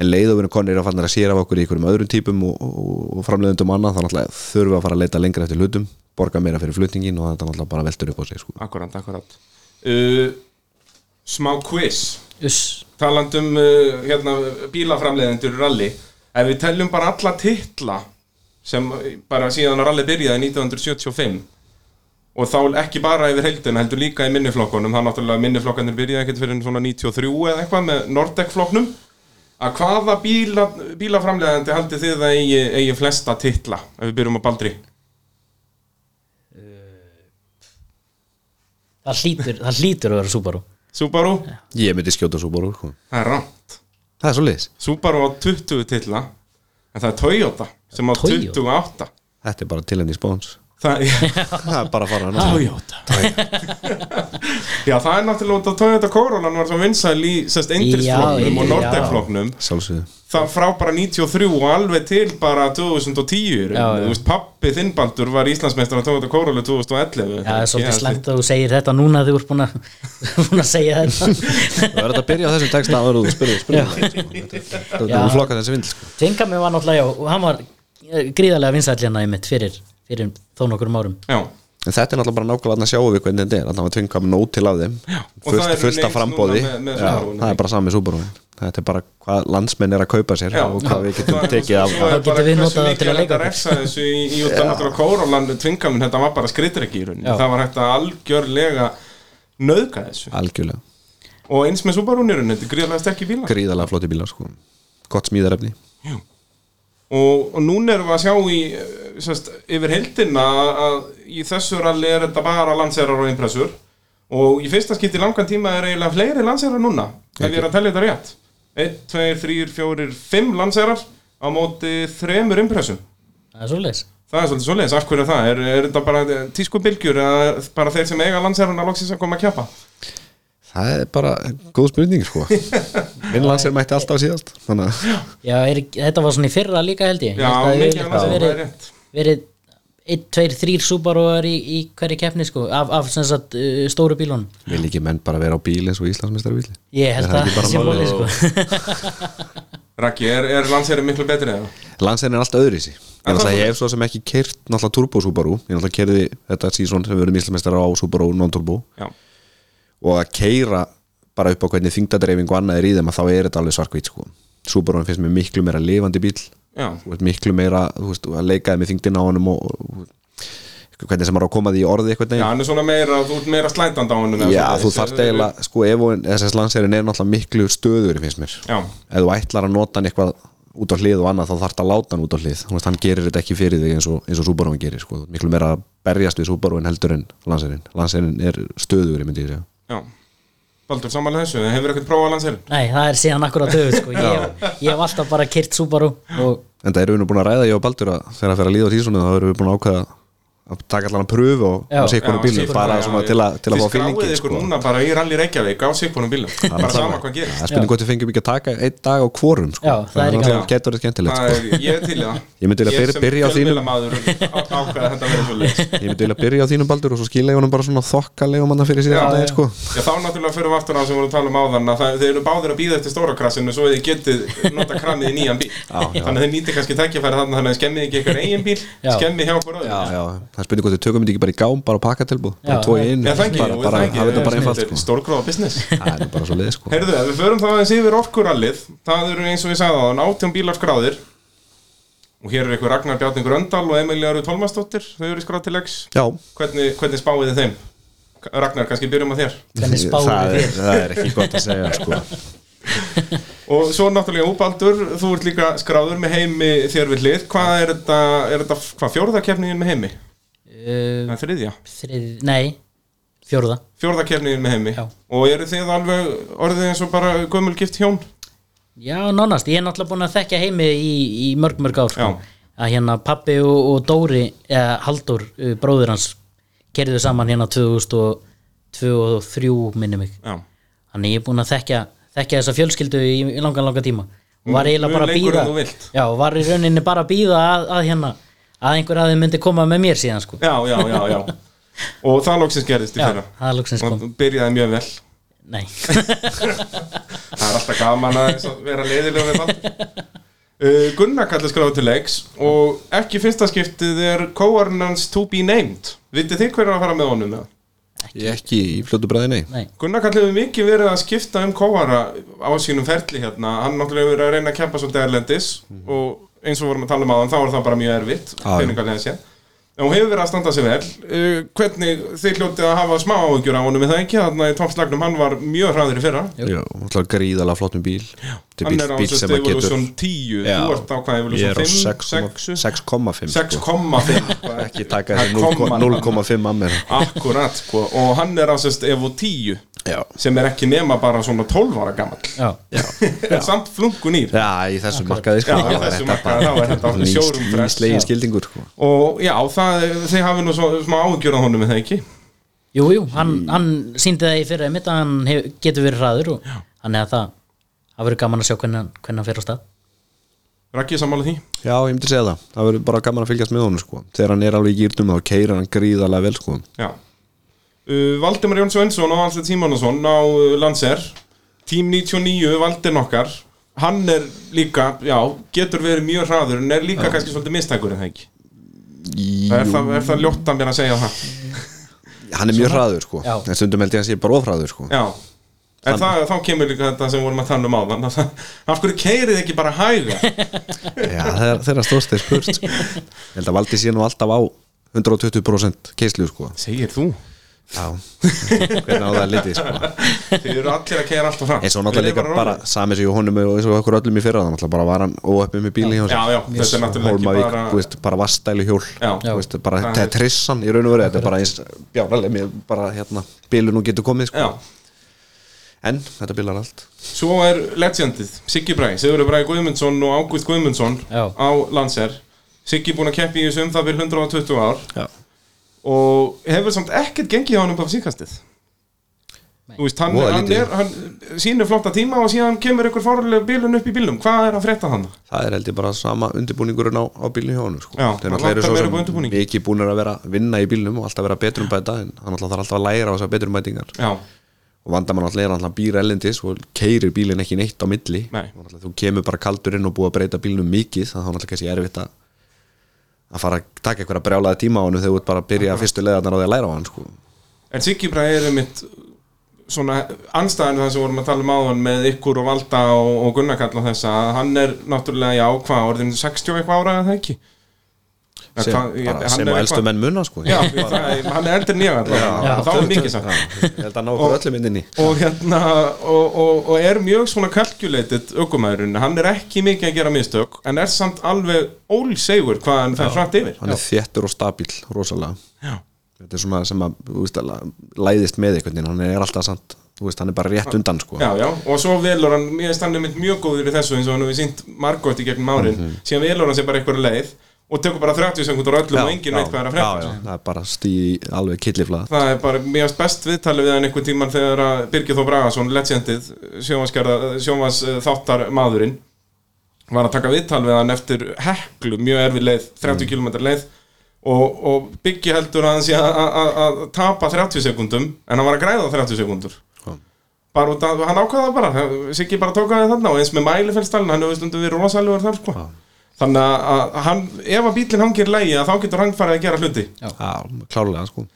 Speaker 2: en leiðofinu konir að fannir að sér af okkur í einhverjum öðrum típum og, og, og framleiðundum annað þá náttúrulega þurfum við að fara að leita lengra eftir hlutum borga meira fyrir flutningin og þetta náttúrulega bara veltur upp á sig sko.
Speaker 1: Akkurát, akkurát uh, Smá quiz
Speaker 3: Uss.
Speaker 1: Talandum uh, hérna, bílaframleiðendur í rally Ef við teljum bara alla titla sem eh, bara síðan að rally byrjaði 1975 og þá ekki bara yfir heildina heldur líka í minniflokkunum þá náttúrulega minniflokkanir byrjaði ekkert fyrir svona 93 eða eitthvað með Nordec flokknum að hvaða bíla, bílaframleiðandi haldið þið að eigi, eigi flesta titla ef við byrjum á Baldri
Speaker 3: það hlýtur, það hlýtur að vera Subaru
Speaker 1: Subaru,
Speaker 2: ég myndi skjóta Subaru sko.
Speaker 1: það er rámt
Speaker 2: það er svo leiðis
Speaker 1: Subaru á 20 titla en það er Toyota sem á
Speaker 3: Toyota?
Speaker 1: 28
Speaker 2: Þetta er bara til henni spáns
Speaker 1: það,
Speaker 2: Það er bara að fara hann
Speaker 1: Toyota Já, það er náttúrulega út af Toyota Coronan var svo vinsæl í sest Indrisfloknum
Speaker 3: Já,
Speaker 1: og
Speaker 3: já.
Speaker 1: Nordegfloknum
Speaker 2: Sjálfsögðu
Speaker 1: það frá bara 93 og alveg til bara 2010 já,
Speaker 3: Já, já.
Speaker 1: Þú veist, pappi þinnbaldur var Íslandsmeistar á Toyota Coronan 2011
Speaker 3: Já, það er svolítið
Speaker 1: Ég-
Speaker 3: slæmt að þú segir þetta núna þegar þú ert búin að, búin að segja þetta
Speaker 2: Það verður þetta að byrja á þessum texta áður og þú spyrðu spyrðu Þú
Speaker 3: Já.
Speaker 2: flokkar þessi vindl sko.
Speaker 3: Tvinga mig var náttúrulega, já, og hann var eh, gríðarlega vinsæll hérna einmitt fyrir, fyrir þó nokkur árum
Speaker 1: Já,
Speaker 2: En þetta er náttúrulega bara nákvæmlega þarna sjáum við hvernig þetta er Þannig að tvinga með nót til af þeim
Speaker 1: og það
Speaker 2: Fullt
Speaker 1: er
Speaker 2: fullt
Speaker 1: leit
Speaker 2: af frambóði
Speaker 1: núna með- með
Speaker 2: Já,
Speaker 1: Subaru-unum.
Speaker 2: Það er bara sami súbúrúin Þetta er bara hvað landsmenn er að kaupa sér
Speaker 1: Já.
Speaker 2: og hvað við
Speaker 1: Svo
Speaker 2: getum
Speaker 1: er-
Speaker 2: tekið
Speaker 1: svo
Speaker 2: af
Speaker 1: er
Speaker 3: Þá getum
Speaker 1: bara
Speaker 3: við
Speaker 1: hversu
Speaker 3: notað það
Speaker 1: mikið
Speaker 3: til að
Speaker 1: er hægt
Speaker 3: leika okkur.
Speaker 1: refsa þessu í, í út af náttúrulega kórólandu tvingaminn þetta var bara skriðdreki í rauninni
Speaker 3: Já.
Speaker 1: það var hægt að algjörlega nöðka þessu
Speaker 2: Algjörlega
Speaker 1: og eins með Subaru í rauninni, þetta er gríðlega stekki bílar
Speaker 2: Gríðalega flotti bílar sko Gott smíðarefni
Speaker 1: og, og núna erum við að sjá í eh, sest, yfir heildina að- að í þessu ralli er þetta bara landserar og impressur og í fyrsta skipti í langan tíma er eiginlega fleiri landserar núna ef ég er að tellja þetta rétt 1, 2, 3, 4, 5 landserar á móti þremur impressum
Speaker 3: Það er svolítið
Speaker 1: Það er svolítið svoleiðis, af hverju er það? Er, er þetta bara tísku bylgjur eða bara þeir sem eiga landsherruna loksins að koma að kjappa?
Speaker 2: Það er bara góð spurning sko Minn landsir mætti alltaf síðast Þannig að
Speaker 3: Já, er, þetta var svona í fyrra líka held ég
Speaker 1: Já,
Speaker 3: Ég held að
Speaker 1: mikið
Speaker 3: við-
Speaker 1: annars er
Speaker 3: verið-
Speaker 1: það rétt.
Speaker 3: verið 1, 2, 3 Subaruar í, í hverju keppni sko af, af sem sagt uh, stóru bílunum
Speaker 2: Vil ekki menn bara vera á bíl eins og Íslandsmeistar bíli
Speaker 3: Ég
Speaker 2: Er
Speaker 3: held
Speaker 2: það
Speaker 3: að
Speaker 2: ekki bara
Speaker 3: það sé
Speaker 2: málið?
Speaker 3: málið sko
Speaker 1: Raki, er, er landsherrin miklu betri eða?
Speaker 2: Landsherrin er alltaf öðru í sig Ég
Speaker 1: En hvað
Speaker 2: náttúrulega
Speaker 1: þú-
Speaker 2: ég hef svo sem ekki kert náttúrulega turbo Subaru Ég náttúrulega kerði þetta sísón sem við verðum íslumestara á Subaru non-turbo
Speaker 1: Já,
Speaker 2: og að keira bara upp á hvernig þyngdadreifing og annað er í þeim að þá er þetta alveg svarkvít sko. Subaru finnst mér miklu meira lifandi bíl
Speaker 1: já,
Speaker 2: Þú veist, miklu meira þú veist, að leikaði með þyngdina á honum og, og, og hvernig sem maður á að koma því í orði eitthvað
Speaker 1: já, hann er svona meira, þú ert meira slændand á honum eða
Speaker 2: Já,
Speaker 1: svoleiðis.
Speaker 2: þú þarft eiginlega, sko, ef og SS landsherrin er náttúrulega miklu stöður, finnst mér
Speaker 1: Já.
Speaker 2: Ef þú ætlar að nota hann eitthvað út á hlið og annað, þá þarft að láta hann út á hlið Þú veist, Hann gerir þetta ekki fyrir þig eins og, eins og Subaru hann gerir, sko, Þú ert miklu meira að berjast við Subaru en heldur en landsherrin Landsherrin er stöður, myndi ég segja
Speaker 1: Já, Baldur, samanlega þessu, hefur ekkert prófað landsherrin?
Speaker 3: Nei, það er síðan akkur að döðu sko ég, ég hef alltaf bara kyrt Subaru og
Speaker 2: En það erum við nú búin að ræða ég og Baldur að þegar að fyrir að líða á tísunum þá erum við búin að ákveða að taka allan að pröfu og,
Speaker 3: Já.
Speaker 2: og sé hvernig
Speaker 1: Já,
Speaker 2: bílum
Speaker 1: sitt-
Speaker 2: bara
Speaker 1: já,
Speaker 2: svona
Speaker 1: já.
Speaker 2: til að, til að
Speaker 1: Þið
Speaker 2: fá fílingin
Speaker 1: skráið ykkur
Speaker 2: sko.
Speaker 1: núna bara í rally Reykjavík á sikkunum bílum Bara sama hvað gerist
Speaker 2: Það er spurning hvort við fengum ekki að taka einn dag á kvorum sko.
Speaker 3: Já, það er ekki
Speaker 2: náttúrulega
Speaker 1: annað.
Speaker 2: getur þetta skemmtilegt
Speaker 1: Það
Speaker 2: sko.
Speaker 1: er, ég er til í það
Speaker 2: Ég myndi vilja
Speaker 1: Ég
Speaker 2: byr-
Speaker 1: sem
Speaker 2: byrja á þínum.
Speaker 1: fjölmiðlamaður ákvað að þetta verið svolítið
Speaker 2: Ég myndi vilja byrja á þínum Baldur og svo skila ég honum bara svona þokkalegum hann fyrir síðan
Speaker 1: Já,
Speaker 2: daginn sko.
Speaker 1: Já, þá náttúrulega fyrir við aftur á það sem við vorum að tala um áðan að það- þeir eru báðir að býða eftir stóra krassinu svo þið getið nota kramið í nýjan bíl þannig að þeir nýti kannski tækjafæri þannig þannig að skemmið ekki eitthvað eigin bíl
Speaker 3: Já.
Speaker 1: skemmið hjá okkur öðrum
Speaker 2: Já, það er spurning hvort við tökum þetta ekki bara í gám bara á pakkatilbúð, bara
Speaker 3: Já,
Speaker 2: tvo í
Speaker 3: já.
Speaker 2: einu
Speaker 1: Já, það ekki,
Speaker 2: bara,
Speaker 1: jú,
Speaker 2: bara,
Speaker 1: það ekki
Speaker 2: hafa þetta bara einfalt
Speaker 1: Þetta er
Speaker 2: sko.
Speaker 1: Stórgróða business
Speaker 2: Það er bara svo leið sko.
Speaker 1: Heyrðu, ef við förum þá aðeins yfir orkurallið það eru eins og ég sagði á þann 18 bílar skráðir og hér eru eitthvað Ragnar Bjarni Gröndal og Emilja Rú Tólmasdóttir þau eru skráð til X
Speaker 2: Já,
Speaker 1: hvernig, hvernig spáið þið þeim? Ragnar, kannski byrjum að þér
Speaker 3: hvernig spáum
Speaker 2: það
Speaker 3: við
Speaker 2: er, það er ekki gott að segja sko.
Speaker 1: Og svo náttúrulega úbaldur, þú ert líka skráður með heimi þér við hlið Hvað er þetta, er þetta hvað fjórða keppniðin með heimi?
Speaker 3: fyrir uh,
Speaker 1: Það er þriðja
Speaker 3: þrið, Nei, fjórða
Speaker 1: fjórða kefniðin með heimi
Speaker 3: Já.
Speaker 1: og eru þið alveg orðið eins og bara gömul gift hjón
Speaker 3: Já, nánast, ég er náttúrulega búin að þekkja heimi í, í mörg mörg ár sko.
Speaker 1: Já.
Speaker 3: að hérna pappi og, og Dóri eða Haldur, eh, bróðir hans kerðu saman hérna 2003 minni mig
Speaker 1: já,
Speaker 3: þannig ég er búin að þekkja, þekkja þessa fjölskyldu í, í langan langan tíma og var
Speaker 1: Mun-
Speaker 3: eiginlega bara
Speaker 1: mun
Speaker 3: að
Speaker 1: lengur
Speaker 3: býða
Speaker 1: en þú vilt.
Speaker 3: Já, og var í rauninni bara að býða að, að hérna að einhver aðeins myndi koma með mér síðan sko.
Speaker 1: já, já, já, já. og það loksins gerðist í
Speaker 3: Já,
Speaker 1: fyrra
Speaker 3: það loksins
Speaker 1: og
Speaker 3: kom.
Speaker 1: byrjaði mjög vel
Speaker 3: Nei,
Speaker 1: það er alltaf gaman að eins og vera leiðilega við allt uh, Gunnar kallar skráðu til leiks og ekki fyrsta skiptið er co-ordinance to be named vitið þið hver er að fara með honum með?
Speaker 2: Ég ekki í fljótu bræði, nei
Speaker 3: nei,
Speaker 1: Gunnar Karl hefur mikið verið að skipta um kóara á sínum ferli hérna hann náttúrulega hefur verið að reyna að kempa svolítið erlendis og eins og við vorum að tala um aðan þá er það bara mjög erfitt
Speaker 2: Mhm. Já, já.
Speaker 1: peningalega séð en hún hefur verið að standa sig vel uh, hvernig þið hljótið að hafa smá áhugjur á honum er það ekki þarna í toppslagnum hann var mjög hraður í fyrra
Speaker 2: Já, alltaf gríðalega flottum bíl Þetta er
Speaker 1: hann
Speaker 2: bíl,
Speaker 1: er á
Speaker 2: bíl
Speaker 1: þessu
Speaker 2: sem að getur
Speaker 1: Evolution 10
Speaker 2: Já.
Speaker 1: þú ert á hvað
Speaker 2: Ég er á
Speaker 1: Evolution 5 6
Speaker 2: 6,5 sko.
Speaker 1: 6,5
Speaker 2: Ekki
Speaker 1: Það
Speaker 2: taka
Speaker 1: er
Speaker 2: þessi 0,5
Speaker 1: komman.
Speaker 2: 0,5 að mér
Speaker 1: akkurat sko og hann er á þessu Evo 10
Speaker 2: Já,
Speaker 1: sem er ekki nema bara svona 12 ára gamall
Speaker 3: já,
Speaker 1: en samt flunkun í
Speaker 2: já í þessu markaði sko
Speaker 1: Já, í
Speaker 2: þá er
Speaker 1: þessu
Speaker 2: þetta
Speaker 1: markaði,
Speaker 2: bara-
Speaker 1: þá er þetta
Speaker 2: bara nýs-
Speaker 1: sjórum frest.
Speaker 2: nýslegi
Speaker 3: Já.
Speaker 2: skildingur sko.
Speaker 1: og já, það, þeir hafi nú svo, smá áhugjur á honum er það ekki
Speaker 3: jú, jú hann, hann síndi það í fyrra mitt að hann hef, getur verið hraður og hann er að það það verður gaman að sjá hvernig, hann- hvernig hann fer á stað
Speaker 1: Raggi sammála því
Speaker 2: Já, ég myndi segja það, það verður bara gaman að fylgjast með honum sko. Þegar hann er alveg í gýrnum þá keirir hann gríðalega vel sko.
Speaker 1: já. Uh, Valdimar Jón Svensson og Alfred Tímanusson á uh, Lancer Team 99, Valdin okkar hann er líka, já, getur verið mjög hraður en er líka kannski svolítið mistækur en það ekki er það, er það ljótt að mér að segja það
Speaker 2: Hann er mjög hraður sko.
Speaker 3: Já.
Speaker 2: en stundum held ég að sé bara ofraður sko.
Speaker 1: já En það, þá kemur líka þetta sem vorum að tala um áðan að það- Af hverju keirið ekki bara hæga
Speaker 2: Já, þeirra, þeirra stóðst þeir spurt sko. Ég held að valdi síðan og alltaf á 120% keislu sko.
Speaker 1: Segir þú
Speaker 2: Já Hvernig á það litið sko.
Speaker 1: Þið eru allir að keira alltaf fram
Speaker 2: En svo náttúrulega
Speaker 1: Við
Speaker 2: líka
Speaker 1: leyfum
Speaker 2: bara Samir sig og honum og eins og okkur öllum í fyrra Það náttúrulega bara var hann óöppið með bílinn hjá sér
Speaker 1: Já, já, þetta er náttúrulega ekki
Speaker 2: Hólmavík,
Speaker 1: bara-
Speaker 2: þú veist, bara vastæli hjól
Speaker 1: Já.
Speaker 2: Þú veist, bara,
Speaker 1: Það
Speaker 2: þetta er trissan í raun og verið Þetta er bara eins bjánalemi Bara hérna, bílun og getur komið sko.
Speaker 1: Já,
Speaker 2: En þetta bílar allt
Speaker 1: Svo er legendið, Siggi Bræ Sigurður Bræ Guðmundsson og Ágúst Guðmundsson
Speaker 3: Já.
Speaker 1: á Lancer Siggi búin að keppi í þessu um það byrð 120 ár
Speaker 2: Já,
Speaker 1: og hefur samt ekkert gengið á hann upp á síkastið Þú veist, hann,
Speaker 2: Voða
Speaker 1: hann,
Speaker 2: lítið.
Speaker 1: er, hann sýnir flotta tíma og síðan kemur ykkur fárlega bílun upp í bílum Hvað er að frétta hann?
Speaker 2: það er held ég bara sama undirbúningurinn á, á bílinn hjá honum sko.
Speaker 1: Já,
Speaker 2: Þeir
Speaker 1: hann
Speaker 2: náttúrulega
Speaker 1: vantar
Speaker 2: eru
Speaker 1: meira upp á
Speaker 2: svo sem
Speaker 1: undirbúning.
Speaker 2: mikið búnir að vera vinna í bílnum og alltaf vera betrumbæta en hann alltaf þarf alltaf að læra á þessar betrumbætingar
Speaker 1: Já,
Speaker 2: og vandamann alltaf er að hann býr ellendis og keirir bílinn ekki neitt á milli
Speaker 1: Nei.
Speaker 2: Og náttúrulega þú kemur bara kaldur inn og búið að breyta bílnum mikið þannig að hann alltaf kannski erfitt að að fara að taka einhverja brjálaði tíma á hann þegar þú ert bara að byrja fyrstu leðarnar á því að læra á hann sko.
Speaker 1: en Siggi Bræ er mitt svona anstæðan það sem vorum að tala um áðan með ykkur og Valda og, og Gunnar Kall og þessa að hann er náttúrulega, já, hvað, orðin 60 eitthvað ára eða það ekki Ja,
Speaker 2: sem,
Speaker 1: hvað- ég-
Speaker 2: bara,
Speaker 1: hann
Speaker 2: sem
Speaker 1: er
Speaker 2: að
Speaker 1: eitthvað-
Speaker 2: elstu menn munna sko.
Speaker 1: Já, það, hann er eldur nýja og þá er mikið sagt
Speaker 2: Ég held að ná okkur öllum inn í
Speaker 1: og hérna og, og, og er mjög svona kalkjuleitit aukumæðurinn, hann er ekki mikið að gera mistök en er samt alveg ólsegur hvað hann fær frætt yfir
Speaker 2: hann er þéttur og stabíl, rosalega
Speaker 1: Já.
Speaker 2: þetta er svona sem að þú veist, að læðist með einhvern veginn, hann er alltaf sant þú veist, hann er bara rétt undan sko
Speaker 1: Já, já, og svo velur hann, mér finnst hann einmitt mjög góður í þessu eins og hann hefur sínt margótt í gegnum árin
Speaker 2: Mhm.
Speaker 1: síðan velur hann sér bara einhverja leið og tekur bara 30 sekund úr öllum og enginn veit hvað er að frétta sko.
Speaker 2: já, já, það er bara stíð alveg killiflað
Speaker 1: Það er bara mjög best viðtalið við hann einhvern tíman þegar að Birgir Þó Bragason, legendið, sjómas þáttar maðurinn var að taka viðtal við hann eftir heklu, mjög erfið leið,
Speaker 2: Mhm.
Speaker 1: 30 km leið og, og Byggi heldur að hann sé að- að að tapa 30 sekundum en hann var að græða 30 sekundur
Speaker 2: sko.
Speaker 1: bara út að, hann ákvaða það bara Siggi bara tók að það þarna og eins með mælifellstalinn hann hefur stundum verið rosalegur þar sko þannig að- að hann, ef að bílinn hangir lægi þá getur hann farið að gera hluti
Speaker 2: já, klálega sko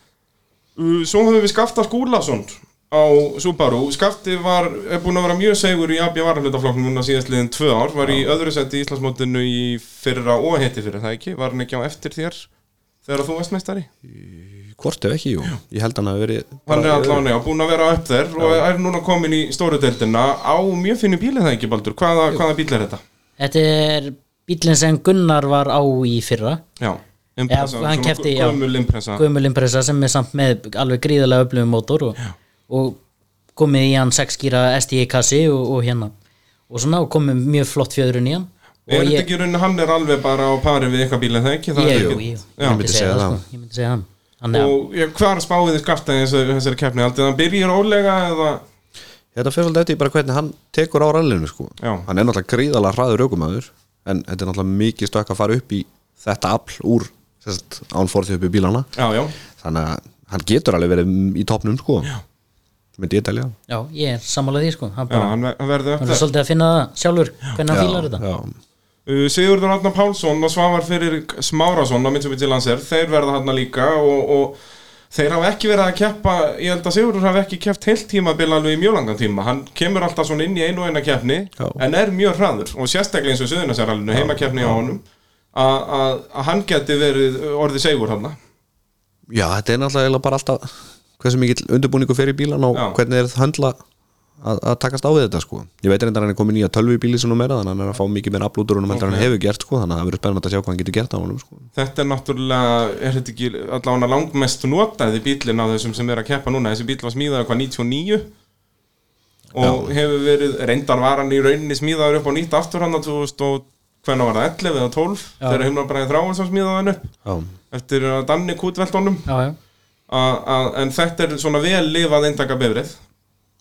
Speaker 1: Uh, Svo höfum við Skafta Skúlason á Subaru. Skafti var, er búin að vera mjög segur í AB varalutaflokknum núna síðastliðin tvö ár, var í öðru seti í Íslandsmótinu í fyrra og heiti fyrra, það ekki? Var hann ekki á eftir þér þegar þú varst meistari?
Speaker 2: hvort ef ekki, jú, ég held hann að verið
Speaker 1: Hann er allan, já, búin að vera á upp þér og er núna komin í stóru deildina á mjög finu bíli það ekki, Baldur? Hvaða, hvaða bíl er þetta?
Speaker 3: þetta er bílinn sem Gunnar var á í fyrra
Speaker 1: Já, Impressa,
Speaker 3: Já, hann
Speaker 1: svona
Speaker 3: keppti, já.
Speaker 1: gömul impressa
Speaker 3: gömul impressa sem er samt með alveg gríðarlega öflugum mótor og, og komið í hann 6 gíra STI kassi og, og hérna og svona og komið mjög flott fjöðrun í hann
Speaker 1: Er
Speaker 3: og
Speaker 1: þetta ekki raunin, hann er alveg bara á pari við eitthvað bíla, það ekki? Það er
Speaker 3: ég, jú,
Speaker 1: ekki-
Speaker 3: jú,
Speaker 1: Já.
Speaker 3: ég myndi segja það sko, ég myndi segja það Þannig að-
Speaker 1: Og ég, hvar spáið þið skapta þessari, þessari keppni? Aldrei hann byrjir ólega eða
Speaker 2: Þetta fyrir svolítið eftir bara hvernig hann tekur á rallinu sko.
Speaker 1: Já.
Speaker 2: Hann er náttúrulega gríðalega hraður aukumæður En þetta er náttúrulega mikið stökk að fara upp í þetta afl úr sérst, án fórþið upp í bílana
Speaker 1: Já, já,
Speaker 2: Þannig að hann getur alveg verið í topnum sko. Myndi ég telja það.
Speaker 3: já, ég er sammála því sko hann
Speaker 1: já
Speaker 3: bara,
Speaker 1: hann, ver- hann verði upp
Speaker 3: hann er
Speaker 1: þess
Speaker 3: svolítið að finna það sjálfur hvernig hann fílar þetta
Speaker 2: já,
Speaker 1: Uh, Sigurður Arnar Pálsson og Svavar fyrir Smárasson á Mitsubishi Lancer, þeir verða hann líka og, og þeir hafa ekki verið að keppa ég held að Sigurður hafi ekki keppt heilt tímabil alveg í mjög langan tíma, hann kemur alltaf svona inn í einu og eina keppni,
Speaker 2: Já.
Speaker 1: en er mjög hraður og sérstaklega eins og Suðunasjáralinu, heimakeppni á honum að- að að hann geti verið uh, orðið Sigur hann
Speaker 2: já, þetta er náttúrulega eiginlega bara alltaf Hversu mikill undirbúningu fyrir bílana og
Speaker 1: Já.
Speaker 2: hvernig er það höndla að, að takast á við þetta sko. Ég veit reyndar að hann er komin í að tölvu í bíli sem nú meira Þannig að hann er að fá mikið meira aflútur en hann hefur gert sko. Þannig að það verður spennandi að sjá hvað hann getur gert á honum sko.
Speaker 1: þetta er náttúrulega, er þetta ekki allavega langmest notaði bílinn á þessum sem er að keppa núna, þessi bíl var smíðaður hvað 99 og hefur verið, reyndar var hann í rauninni smíðaður upp á nýtt aftur hann að 2000 og hvenær var það 11 eða 12 þegar heimlar bara í þráin sem smíðaði hann upp
Speaker 2: Já.
Speaker 1: eftir að danni kútvelt honum
Speaker 3: já, já,
Speaker 1: A- a- en þetta er svona vel lifað eintaka bifrið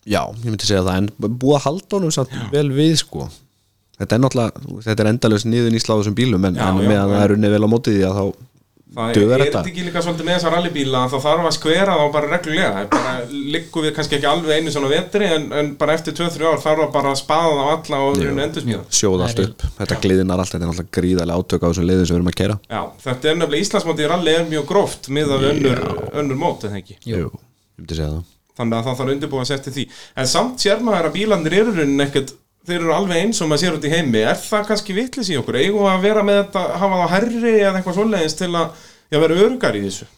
Speaker 2: Já, ég myndi segja það en búið að halda honum samt vel við sko Þetta er náttúrulega, þetta er endalaus niður nýsla á þessum bílum en,
Speaker 1: Já,
Speaker 2: en
Speaker 1: já,
Speaker 2: meðan
Speaker 1: já.
Speaker 2: það er unnið vel á mótið því að þá
Speaker 1: það
Speaker 2: Dugar
Speaker 1: er, er
Speaker 2: þetta?
Speaker 1: þetta ekki líka svolítið með þessar rallybíla að það þarf að skvera þá bara reglulega Það er bara liggum við kannski ekki alveg einu svona vetri en, en bara eftir 2-3 ár þarf að bara spaða þá alla og endur smíða
Speaker 2: sjóða allt upp Þetta gliðinar allt, þetta er náttúrulega gríðarlega átök á þessum leiðum sem við erum að keira
Speaker 1: Já, þetta er nefnilega Íslandsmóti í rally er mjög gróft miðað við önnur, önnur mót en ekki
Speaker 3: Jú.
Speaker 2: Ég myndi segja það
Speaker 1: þannig að það þarf að undirbúa að setja því en samt sér maður að bílandir eru í rauninni ekkert þeir eru alveg eins og maður sér út í heimi er það kannski vitlis í okkur, eigum við að vera með þetta hafa það herri eða eitthvað svoleiðis til að já, vera örugar í þessu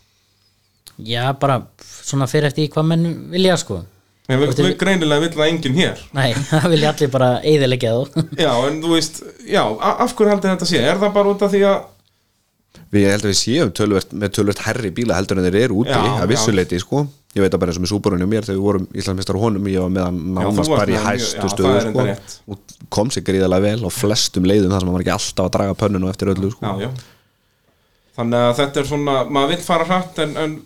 Speaker 3: já, bara svona fyrir eftir í hvað menn vilja sko
Speaker 1: en
Speaker 3: Og
Speaker 1: við,
Speaker 3: til-
Speaker 1: við greinilega vill það enginn hér
Speaker 3: nei, það vilja allir bara eyðilegja þú
Speaker 1: já, en þú veist, já, a- af hverju haldið þetta sé er það bara út af því að
Speaker 2: Við ég held að við séum tölvert, með tölvert herri bíla heldur en þeir eru úti
Speaker 1: Já,
Speaker 2: að
Speaker 1: já.
Speaker 2: vissuleiti sko Ég veit að bara eins og með súbúrunni og mér þegar við vorum Íslandsmeistar honum ég var með hann nánast
Speaker 1: þú varst
Speaker 2: bara í
Speaker 1: með hann mjög- já,
Speaker 2: hæstu
Speaker 1: það
Speaker 2: stöðu
Speaker 1: er
Speaker 2: sko,
Speaker 1: enda rétt.
Speaker 2: og kom sér gríðarlega vel á flestum leiðum þar sem hann var ekki alltaf að draga pönnun og eftir öllu sko.
Speaker 1: já, já. þannig að þetta er svona maður vill fara hratt en, en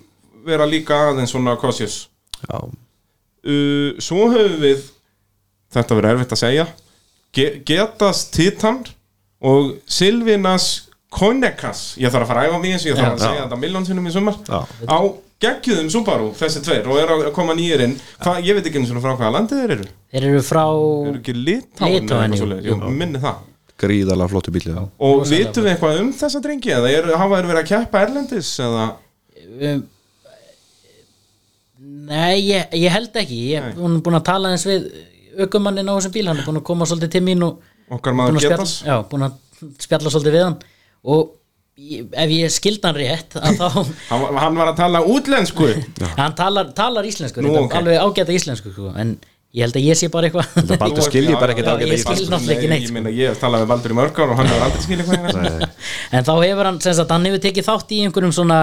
Speaker 1: vera líka aðeins svona cautious
Speaker 2: Já.
Speaker 1: uh, svo höfum við þetta verður erfitt að segja Ge Getas Titan og Silvinas Konekas ég þarf að fara að æfa mig eins og ég þarf að
Speaker 2: Já.
Speaker 1: segja þetta miljón sinnum í sumar
Speaker 2: Já.
Speaker 1: á geggjum Subaru þessi tveir og er að koma nýjir inn Hva, ég veit ekki eins og frá hvaða landið þeir eru
Speaker 3: þeir eru frá
Speaker 1: eru ekki litáin eða
Speaker 3: Litháen,
Speaker 1: eitthvað
Speaker 3: jú.
Speaker 1: svoleiðis? Jú, minni það
Speaker 2: Gríðarlega flottu bíli Já
Speaker 1: og vitum við eitthvað um þessa drengi eða er, hafa þeir verið að keppa erlendis eða
Speaker 3: um, Nei, ég, ég held ekki ég, Hún er búin að tala eins við aukumannin á þessum bíl, hann er búin að koma svolítið til mín og
Speaker 1: okkar
Speaker 3: búin að
Speaker 1: maður
Speaker 3: spjalla,
Speaker 1: Getas
Speaker 3: já, búin að spjalla svolítið við hann og ég, ef ég skildi hann rétt að þá,
Speaker 1: hann, var- hann var að tala útlensku
Speaker 3: hann talar, talar íslensku
Speaker 1: Nú,
Speaker 3: reyndar,
Speaker 1: ok.
Speaker 3: alveg ágæta íslensku sko, en ég held að ég sé bara eitthvað
Speaker 2: Baldur
Speaker 1: Nú er-
Speaker 2: skilji
Speaker 1: já,
Speaker 2: bara
Speaker 1: já,
Speaker 2: ekkert
Speaker 1: já,
Speaker 2: ágæta
Speaker 1: ég
Speaker 3: íslensku.
Speaker 1: skil
Speaker 3: náttúrulega ekki
Speaker 1: Nei,
Speaker 3: neitt,
Speaker 1: Ég meina, ég hef talað við Baldur í mörg ár og hann hefur aldrei skilja hvað hérna
Speaker 3: en þá hefur hann sem sagt, hann hefur tekið þátt í einhverjum svona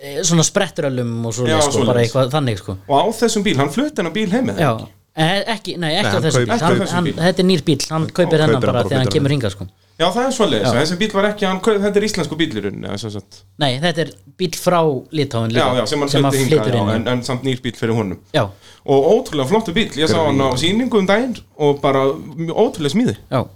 Speaker 3: eh, svona spretturölum og svona,
Speaker 1: Já,
Speaker 3: sko,
Speaker 1: svoleiðis.
Speaker 3: bara eitthvað þannig sko.
Speaker 1: Og á þessum bíl, hann flutti hennar bíl heim með
Speaker 3: já, eh, ekki,
Speaker 2: Nei,
Speaker 3: nei, ekki á
Speaker 2: hann
Speaker 3: þessum
Speaker 2: kaupir-
Speaker 3: bíl,
Speaker 1: ekki á
Speaker 3: hann,
Speaker 1: þessum
Speaker 3: hann,
Speaker 1: bíl.
Speaker 3: þetta er nýr bíl hann kaupir
Speaker 2: kaupir
Speaker 3: hennan
Speaker 2: hann
Speaker 3: bara
Speaker 2: bara og
Speaker 3: þegar hann
Speaker 2: flytur
Speaker 3: kemur
Speaker 2: hann.
Speaker 3: hingað sko.
Speaker 1: Já, það er svoleiðis, já. þessi bíl var ekki, hann, kaup- þetta er íslensku bílirinn Já, já,
Speaker 3: nei, þetta er bíl frá Litáin líka,
Speaker 1: sem hann
Speaker 3: sem hann
Speaker 1: flutti hingað
Speaker 3: flytur
Speaker 1: já,
Speaker 3: inn
Speaker 1: en, en samt nýr bíl fyrir honum
Speaker 3: já,
Speaker 1: Og ótrúlega flottu bíl, ég sá hann á sýningu um daginn Og bara mjög ótrúlega smíði
Speaker 3: já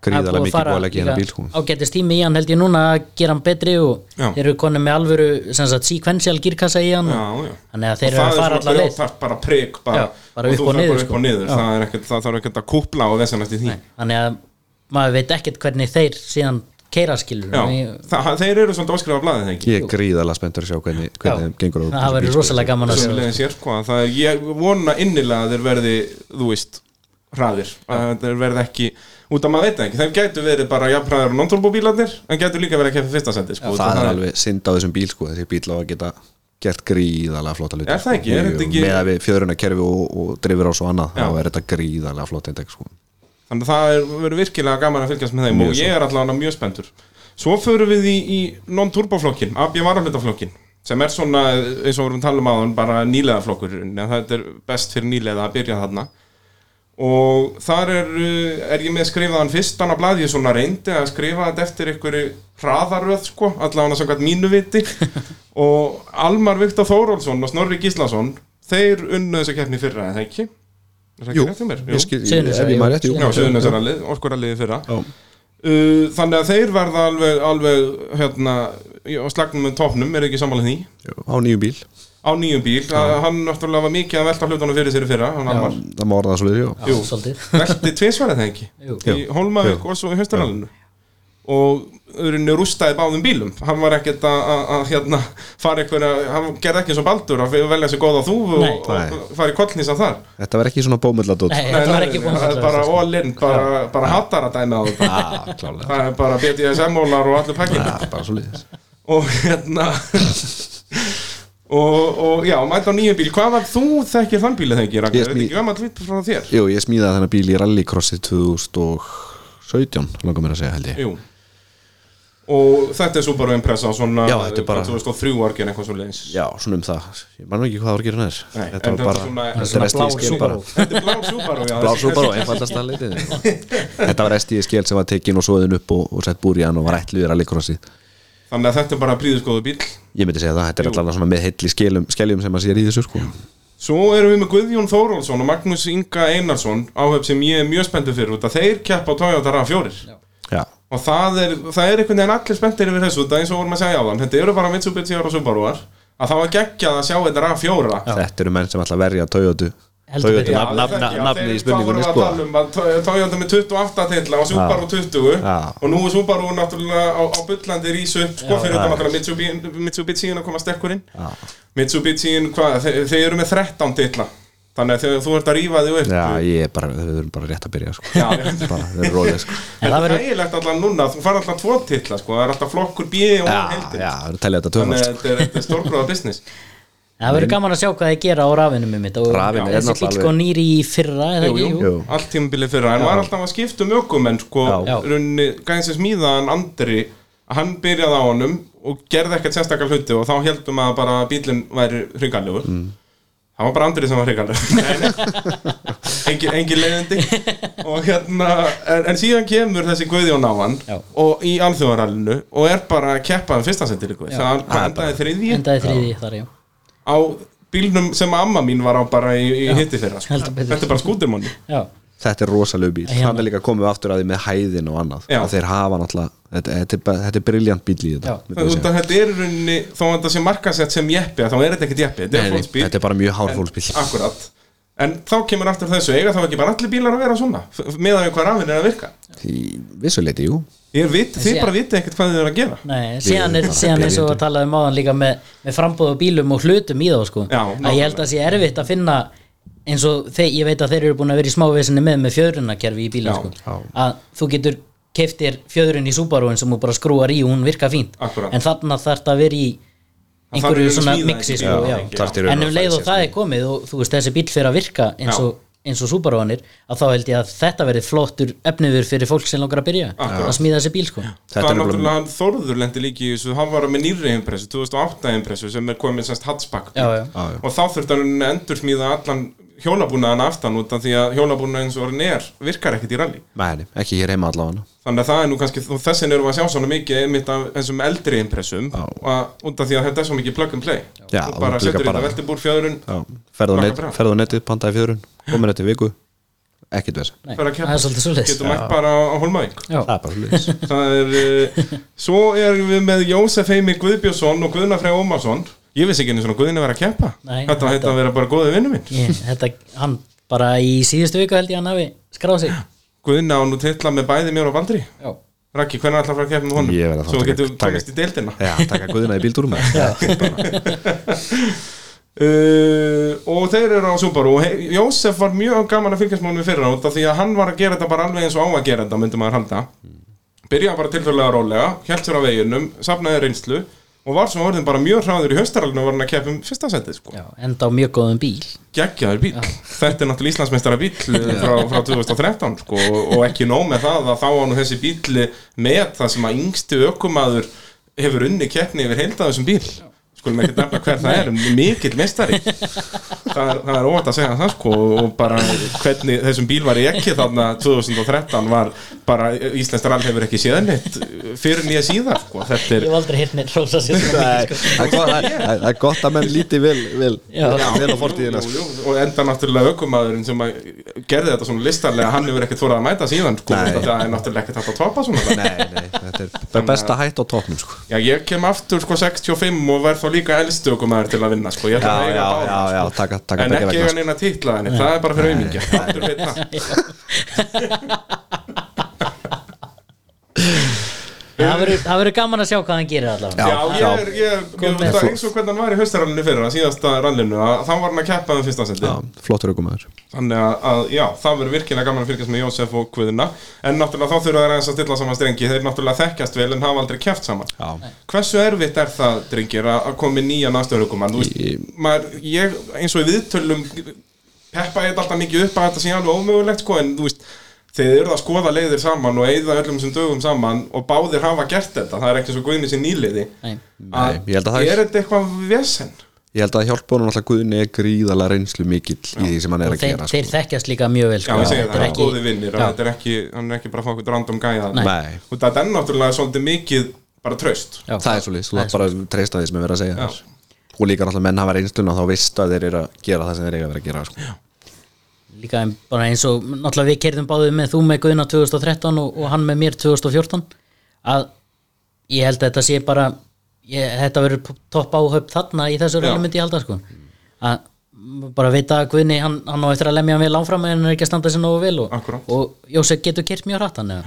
Speaker 2: Gríðarlega mikið búið að leggja í hennar bíl, sko.
Speaker 3: ágættist tími í hann held ég núna að gera hann betri og
Speaker 1: Já.
Speaker 3: þeir eru konum með alvöru sem sagt sequential girkassa í hann
Speaker 1: Já, já
Speaker 3: þannig að þeir
Speaker 1: Og
Speaker 3: eru að
Speaker 1: það
Speaker 3: fara
Speaker 1: er
Speaker 3: allar
Speaker 1: svona
Speaker 3: leið
Speaker 1: grjótart bara prik bara,
Speaker 3: Já, bara upp
Speaker 1: þú
Speaker 3: og
Speaker 1: ferð
Speaker 3: niður,
Speaker 1: bara upp
Speaker 3: sko.
Speaker 1: og niður
Speaker 3: Já.
Speaker 1: það, er ekkert, það þarf ekkert að kúpla og vesenast í því
Speaker 3: þannig að maður veit ekkert hvernig þeir síðan keira skilur
Speaker 1: Já,
Speaker 3: Ég-
Speaker 1: það, þeir eru svolítið áskrifa blaðið ekki
Speaker 2: Ég er gríðarlega spenntur að sjá hvernig, hvernig þeim gengur á sko.
Speaker 3: það verður rosalega gaman að sjá
Speaker 1: Sömulegin sér hvað Það er, ég vona innilega að þeir verði Þú veist, hraðir Að Þeir verði ekki, út að maður veit það ekki Þeir gætu verið bara jafnhraðir og non-turbóbílarnir En gætu líka verið að keppa í fyrsta sendi sko.
Speaker 2: Það er alveg synd á þessum bíl sko Þessi bíl á að geta gert gríðarlega flotta luti
Speaker 1: Er það ekki? Er þetta ekki-
Speaker 2: Með að við fjöðruna kerfi og, og drifir á svo annað
Speaker 1: Já.
Speaker 2: þá er þetta gríðarlega flott eindeg sko
Speaker 1: Þannig að það er, verður virkilega gaman að fylgjast með þeim
Speaker 2: Mjög
Speaker 1: Og ég er allavega mjög spenntur Svo förum við í, í non-turboflokkin, AB varahlutaflokkin sem er svona, eins og við vorum að tala um áðan bara nýlega flokkur, það er best fyrir nýlega að byrja þarna og þar er, uh, er ég með skrifaðan fyrst, þannig að blaði ég svona reyndi að skrifa þetta eftir einhverju hraðaröð sko, allavega samkvæmt mínu viti og Almar Viktor Þórólfsson og Snorri Gíslason þeir unnu þessu keppni í fyrra, eða ekki? Er það ekki
Speaker 2: Jú,
Speaker 1: rétt hjá mér?
Speaker 2: ég skil, ég,
Speaker 3: Suðurnesja,
Speaker 2: ef ég
Speaker 3: jú.
Speaker 2: maður rétt, jú
Speaker 1: Já, Suðunessarallið, orkurallið fyrra
Speaker 2: Já.
Speaker 1: uh, Þannig að þeir verða alveg, alveg hérna, í- á slagnum með topnum, er ekki sammála því
Speaker 2: Jú, á nýju bíl
Speaker 1: á nýjum bíl, að, hann náttúrulega var mikið að velta hlutunum fyrir sér í fyrra, hann Almar
Speaker 2: það má orða það svolítið, já
Speaker 1: Jú.
Speaker 3: svolítið
Speaker 1: velti tvisvarað það ekki
Speaker 3: Jú.
Speaker 1: í Holmavík og svo í höstarallinu og auðvitað rústaði báðum bílum hann var ekkert að, að, að hérna, fara einhverja, hann gerði ekki eins og baldur að velja sér góða þúfu
Speaker 3: Nei.
Speaker 1: og,
Speaker 2: Nei.
Speaker 1: og fara í kollnýsa þar
Speaker 2: þetta var ekki svona sko. bómulladótt
Speaker 3: Nei, þetta var ekki búin
Speaker 1: það er bara all-in, bara, bara hattar að dæma á þetta
Speaker 2: ah, klálega,
Speaker 1: það er bara BDSM-ólar og allir pakkin
Speaker 2: ah, bara svolítið
Speaker 1: og hérna og, og já, mæta á nýjum bíl hvað var þú þekkir þann bíl eða ekki, Ragnar? Er
Speaker 2: Ég
Speaker 1: þetta
Speaker 2: smí-
Speaker 1: ekki gammal vitt frá þér?
Speaker 2: Jú, ég smíðaði þennan bíl í rallycrossi 2017, langar mér að segja held ég
Speaker 1: Jú og þetta er svo bara impressa á svona
Speaker 2: Já, þetta er bara-
Speaker 1: 2003 argin eitthvað svo leiðis
Speaker 2: Já, svona um það, ég man ekki hvað það var að gera næður
Speaker 1: Nei,
Speaker 2: Þetta
Speaker 1: en
Speaker 2: var bara,
Speaker 1: svona-
Speaker 2: þetta var
Speaker 3: blá
Speaker 2: STI-skil bara
Speaker 3: Subaru
Speaker 1: þetta er blá súbar og já
Speaker 2: Blá svo bara og einfallast að leitið Þetta var STI-skil sem var tekin og svoðin upp og, og sett búr í hann og var ætluð í rallycrossi
Speaker 1: þannig að þetta er bara príðuskoðu bíl
Speaker 2: Ég myndi segja það, þetta er allavega svona með heilli skeljum, skeljum sem að sér í þessu sko
Speaker 1: svo erum við með Guðjón Þórólfsson og Magnús Inga Einarsson áhöf sem ég er mjög spenntur fyrir út að þeir keppa á Toyota RAV4
Speaker 2: Já,
Speaker 1: og það er, það er einhvern veginn allir spenntir yfir þessu, það er eins og vorum að segja á þann þetta eru bara Mitsubishi og Subaruar að það var geggjað að sjá þetta RAV4
Speaker 2: þetta eru menn sem ætla að verja Toyotu
Speaker 3: Heldur
Speaker 2: Toyotu
Speaker 3: betur.
Speaker 1: Já,
Speaker 2: nafn- nafn-
Speaker 1: þeir- já,
Speaker 2: nafni
Speaker 1: þeir-
Speaker 2: í spurningunni
Speaker 1: Þá
Speaker 2: sko
Speaker 1: vorum við að tala um að To- Toyota með 28 titla og Subaru 20
Speaker 2: Já.
Speaker 1: og nú er Subaru náttúrulega á, á bullandi rísu upp sko fyrir þetta náttúrulega Mitsubishi- Mitsubishi að koma stekkur inn
Speaker 2: Já.
Speaker 1: Mitsubishi, hvað, þeir, þeir eru með 13 titla þannig að þegar þú ert að rífa þig upp
Speaker 2: Já, ég er bara, við erum bara rétt að byrja sko
Speaker 1: Já, já.
Speaker 2: Bara, við erum rólega sko
Speaker 1: En
Speaker 3: En
Speaker 1: það
Speaker 3: það
Speaker 1: er
Speaker 3: verður-
Speaker 1: eiginlegt alltaf núna, þú fara alltaf tvo titla sko, það er alltaf flokkur B og
Speaker 2: Já,
Speaker 1: heldin
Speaker 2: já, við telja
Speaker 1: Þannig
Speaker 2: þetta töfald
Speaker 1: að
Speaker 2: sko
Speaker 1: þetta er- þetta er stórbróða business
Speaker 3: Það verður gaman að sjá hvað þið gera á rafinu um þetta og
Speaker 2: Rafinn er
Speaker 3: þessi
Speaker 2: náttúrulega
Speaker 3: bíl sko nýri í fyrra eða ekki, jú,
Speaker 2: Jú.
Speaker 1: Allt tímabilið fyrra En var alltaf að skipta um ökum En sko,
Speaker 2: Já.
Speaker 3: Já.
Speaker 1: runni Gæðin sem smíðaðan Andri Hann byrjaði á honum Og gerði ekkert sérstakar hluti Og þá heldum að bara bílinn væri hringanlegur Það var bara Andri sem var hringanlegur Engi, engin leiðindi Og hérna en, en síðan kemur þessi Guðjón á hann
Speaker 3: Já.
Speaker 1: Og í alþjóðarallinu Og er bara að keppa um fyrsta senti líku Það hvað endaði þriðji
Speaker 3: endaði þriði þar, já
Speaker 1: Á bílnum sem amma mín var á bara í, í hitti fyrra sko.
Speaker 3: Heldur betur.
Speaker 1: Þetta er bara skútirmanni
Speaker 3: Já,
Speaker 2: þetta er rosalegu bíl
Speaker 3: Já.
Speaker 2: þannig líka komum við aftur að því með hæðin og annað
Speaker 1: Já.
Speaker 2: að þeir hafa náttúrulega þetta, þetta, er, bara- þetta er briljant bíl í þetta
Speaker 3: Já.
Speaker 2: myndi
Speaker 1: Það
Speaker 2: ég
Speaker 1: út
Speaker 2: segja.
Speaker 1: að þetta er í rauninni, þó að þetta sé markasett sem jeppi, að þá er þetta ekkert jeppi, þetta
Speaker 2: Nei,
Speaker 1: er
Speaker 2: nei,
Speaker 1: fólksbíl,
Speaker 2: þetta er bara mjög hárfólksbíl
Speaker 1: akkurat. En þá kemur aftur þessu, eiga þá ekki bara allir bílar að vera svona, meðan við hvað rafinn er að virka.
Speaker 2: vissuleiti, jú
Speaker 1: Ég veit, þið
Speaker 3: sé-
Speaker 1: bara vitið ekkert hvað þið eru að gera.
Speaker 3: nei, síðan er
Speaker 2: Við-
Speaker 3: síðan eins og
Speaker 2: Byrjandi.
Speaker 3: að tala um áðan líka með, með frambúð á bílum og hlutum í þá sko
Speaker 1: Já,
Speaker 3: að ég held að sé erfitt að finna eins og þeir, ég veit að þeir eru búin að vera í smávesinni með með fjöðrunakerfi í bílum
Speaker 1: Já,
Speaker 3: sko
Speaker 2: já.
Speaker 3: að þú getur keftir fjöðrun í Subaru sem þú bara skrúar í og hún virka fínt
Speaker 1: Akkurat.
Speaker 3: en þarna þarf það að vera í
Speaker 1: Það þarf
Speaker 3: einhverju
Speaker 1: að
Speaker 3: svona
Speaker 1: smíða
Speaker 3: mixi
Speaker 1: einhvern
Speaker 3: sko,
Speaker 1: bíl,
Speaker 3: já.
Speaker 1: ekki,
Speaker 2: þarf til
Speaker 3: en
Speaker 2: raunar
Speaker 3: um
Speaker 2: að
Speaker 3: leið
Speaker 2: fara í
Speaker 3: og það
Speaker 2: sér,
Speaker 3: er komið og þú veist þessi bíl fyrir að virka eins
Speaker 1: Já.
Speaker 3: og, eins og súbaróanir að þá held ég að þetta verði flottur efniður fyrir fólk sem langar að byrja
Speaker 1: Akkurat.
Speaker 3: að smíða þessi bíl sko
Speaker 2: Þetta
Speaker 1: það
Speaker 2: er
Speaker 1: er
Speaker 2: nefnilega-
Speaker 1: náttúrulega hann Þórður lendi líki í þessu, hann var með nýri impressu, 2008 impressu sem er komið semst hatsbakk.
Speaker 3: já, já.
Speaker 2: Já, já.
Speaker 1: Og þá þurfti hann að endur smíða allan hjólabúnaðan aftan út af því að hjólabúnaðan eins og hann er virkar ekkert í rally.
Speaker 2: Nei, ekki hér heima allavega
Speaker 1: Þannig að það er nú kannski, og þessin erum við að sjá svona mikið einmitt af þessum eldri impressum
Speaker 2: Já.
Speaker 1: og að- út af því að þetta er svo mikið plug and play
Speaker 2: Já,
Speaker 1: og bara
Speaker 2: og líka
Speaker 1: setur þetta
Speaker 2: bara-
Speaker 1: veltibúr fjöðurinn
Speaker 2: Já, ferð á
Speaker 1: Laka
Speaker 2: net-
Speaker 1: bara.
Speaker 2: ferð á netið, pantaði fjörun komin þetta í viku, ekkert verð
Speaker 3: Nei,
Speaker 1: Fer að keppa.
Speaker 3: það er svolítið svolítið
Speaker 1: getur mætt bara á- á Holmavík
Speaker 3: já,
Speaker 2: það er bara svolítið
Speaker 1: það er, uh, svo erum við með Jósef Heimir Guðbjörnsson og Guðna Frey Ómarsson ég vissi ekki einu svona Guðni var að keppa
Speaker 3: Nei,
Speaker 1: þetta var þetta að vera bara góði vinnu minn
Speaker 3: ég, þetta, hann bara í síðustu viku held ég að hann hafi skráð sig
Speaker 1: Guðna á nú titla með bæði mér og Baldri
Speaker 3: já,
Speaker 1: Raki, hvernig ætlar að fara að keppa með honum?
Speaker 2: Ég verð að fara
Speaker 1: svo
Speaker 2: að taka-
Speaker 1: getum við
Speaker 2: taka-
Speaker 1: komist í deildina
Speaker 2: Já, taka guðina í bíldúrum Já,
Speaker 1: Uh, og þeir eru á Subaru og he- Jósef var mjög gaman að fylgjast með honum í fyrra út af því að hann var að gera þetta bara alveg eins og á að gera þetta myndi maður halda byrjaði bara tilfæðlega rólega, held sér á veginum safnaði reynslu og var svo orðin bara mjög hraður í höstaralinu og var hann að keppa um fyrsta setið sko.
Speaker 3: já, enda á mjög góðum bíl
Speaker 1: geggjaður bíl þetta er náttúrulega Íslandsmeistara bíl frá, frá 2013 sko, og- og ekki nóg með það að þá á nú þessi bíl með það sem að yngsti ökumaður hefur unni keppni yfir heildaðu sem bíl skulum ekki nefna hver það er en mikill mestari það er, það er óvægt að segja það sko og bara hvernig þessum bíl var ekki þarna 2013 var bara Íslands rall hefur ekki séðan neitt fyrir nýja síðar sko þetta er
Speaker 3: Ég hef aldrei hirt neitt rosa sér svona mikið sko.
Speaker 2: Það er gott- það er- það er gott að menn líti vel, vel,
Speaker 3: Já.
Speaker 2: vel á fortíðina
Speaker 1: Jú,
Speaker 2: sko.
Speaker 1: jú, jú, og enda náttúrulega ökumadurinn sem að gerði þetta svona listarlega hann hefur ekkert þorað að mæta síðan sko,
Speaker 2: Nei.
Speaker 1: það er náttúrulega ekkert hægt að topa svona það.
Speaker 2: Nei, nei, þetta er bara best að hætta á topnum sko.
Speaker 1: já, ég kem aftur sko 65 og verð þá líka elstu ökumadur til að vinna sko, ég ætla
Speaker 2: Já,
Speaker 1: að eiga
Speaker 2: já,
Speaker 1: báða,
Speaker 2: já, já,
Speaker 1: sko.
Speaker 2: taka, taka
Speaker 1: en
Speaker 2: begge
Speaker 1: ekki hérna
Speaker 2: vegna sko.
Speaker 1: eiga neina titla henni, það er bara fyrir auðmingja aftur veitna
Speaker 3: Það verður- það verður gaman að sjá hvað hann gerir allavega
Speaker 1: Já, ég
Speaker 2: já.
Speaker 1: er, ég,
Speaker 3: Kom
Speaker 1: ég
Speaker 3: með.
Speaker 1: veist að eins og hvernig hann var í haustarallinu fyrir að síðasta rallinu, að þá var hann að keppa um fyrsta seti,
Speaker 2: Já, flottur aukumæður
Speaker 1: þannig að, að já, það verður virkilega gaman að fylgjast með Jósef og Guðina en náttúrulega þá þurfa þeir aðeins að stilla saman strengi þeir náttúrulega þekkjast vel en hafa aldrei keft saman
Speaker 2: Já,
Speaker 1: Hversu erfitt er það, drengir, að að koma með nýjan aðstöðurugumann? Þú veist, maður, ég, eins og í viðtölum peppa ég þetta alltaf mikið upp að þetta sé alveg ómögulegt, sko, en þú veist þeir eru að skoða leiðir saman og eigða öllum sem dögum saman og báðir hafa gert þetta það er ekki eins og guðinni sér nýliði
Speaker 3: Nei.
Speaker 1: að
Speaker 2: ég held að það er-
Speaker 1: er þetta eitthvað vesen
Speaker 2: ég held að hjálpa honum alltaf Guðni er gríðalega reynslu mikill í því sem hann er
Speaker 3: Og
Speaker 2: að
Speaker 3: þeir,
Speaker 2: gera sko.
Speaker 3: þeir þekkjast líka mjög vel
Speaker 1: Já,
Speaker 3: sko.
Speaker 1: ég segi það,
Speaker 3: Þetta er
Speaker 1: það er
Speaker 3: ekki-
Speaker 1: góði vinnir að
Speaker 3: Já.
Speaker 1: þetta er ekki, hann er ekki bara að fá eitthvað random gæja
Speaker 3: Nei.
Speaker 2: Nei,
Speaker 1: og þetta er náttúrulega svolítið mikið bara traust
Speaker 3: Já.
Speaker 2: það er svolítið, þú þarf bara að treysta því sem er verið að segja
Speaker 1: Já.
Speaker 2: þér. og líka náttúrulega menn hafa reynsluna þá veist að þeir eru að gera það sem þeir eiga að vera að gera sko.
Speaker 3: líka en- bara eins og náttúrulega við kerðum báðið með þú með Guðna 2013 og, og hann með mér 2014 að ég held að þetta sé bara ég, þetta verður topp áhöfn þarna í þessu
Speaker 1: Já.
Speaker 3: rölu myndi ég halda sko að m- bara vita að Guðni hann, hann á eftir að lemja hann vel áfram en hann er ekki að standa sér nógu vel og,
Speaker 1: Akkúrat.
Speaker 3: og Jósef getur kert mjög hratt hann eða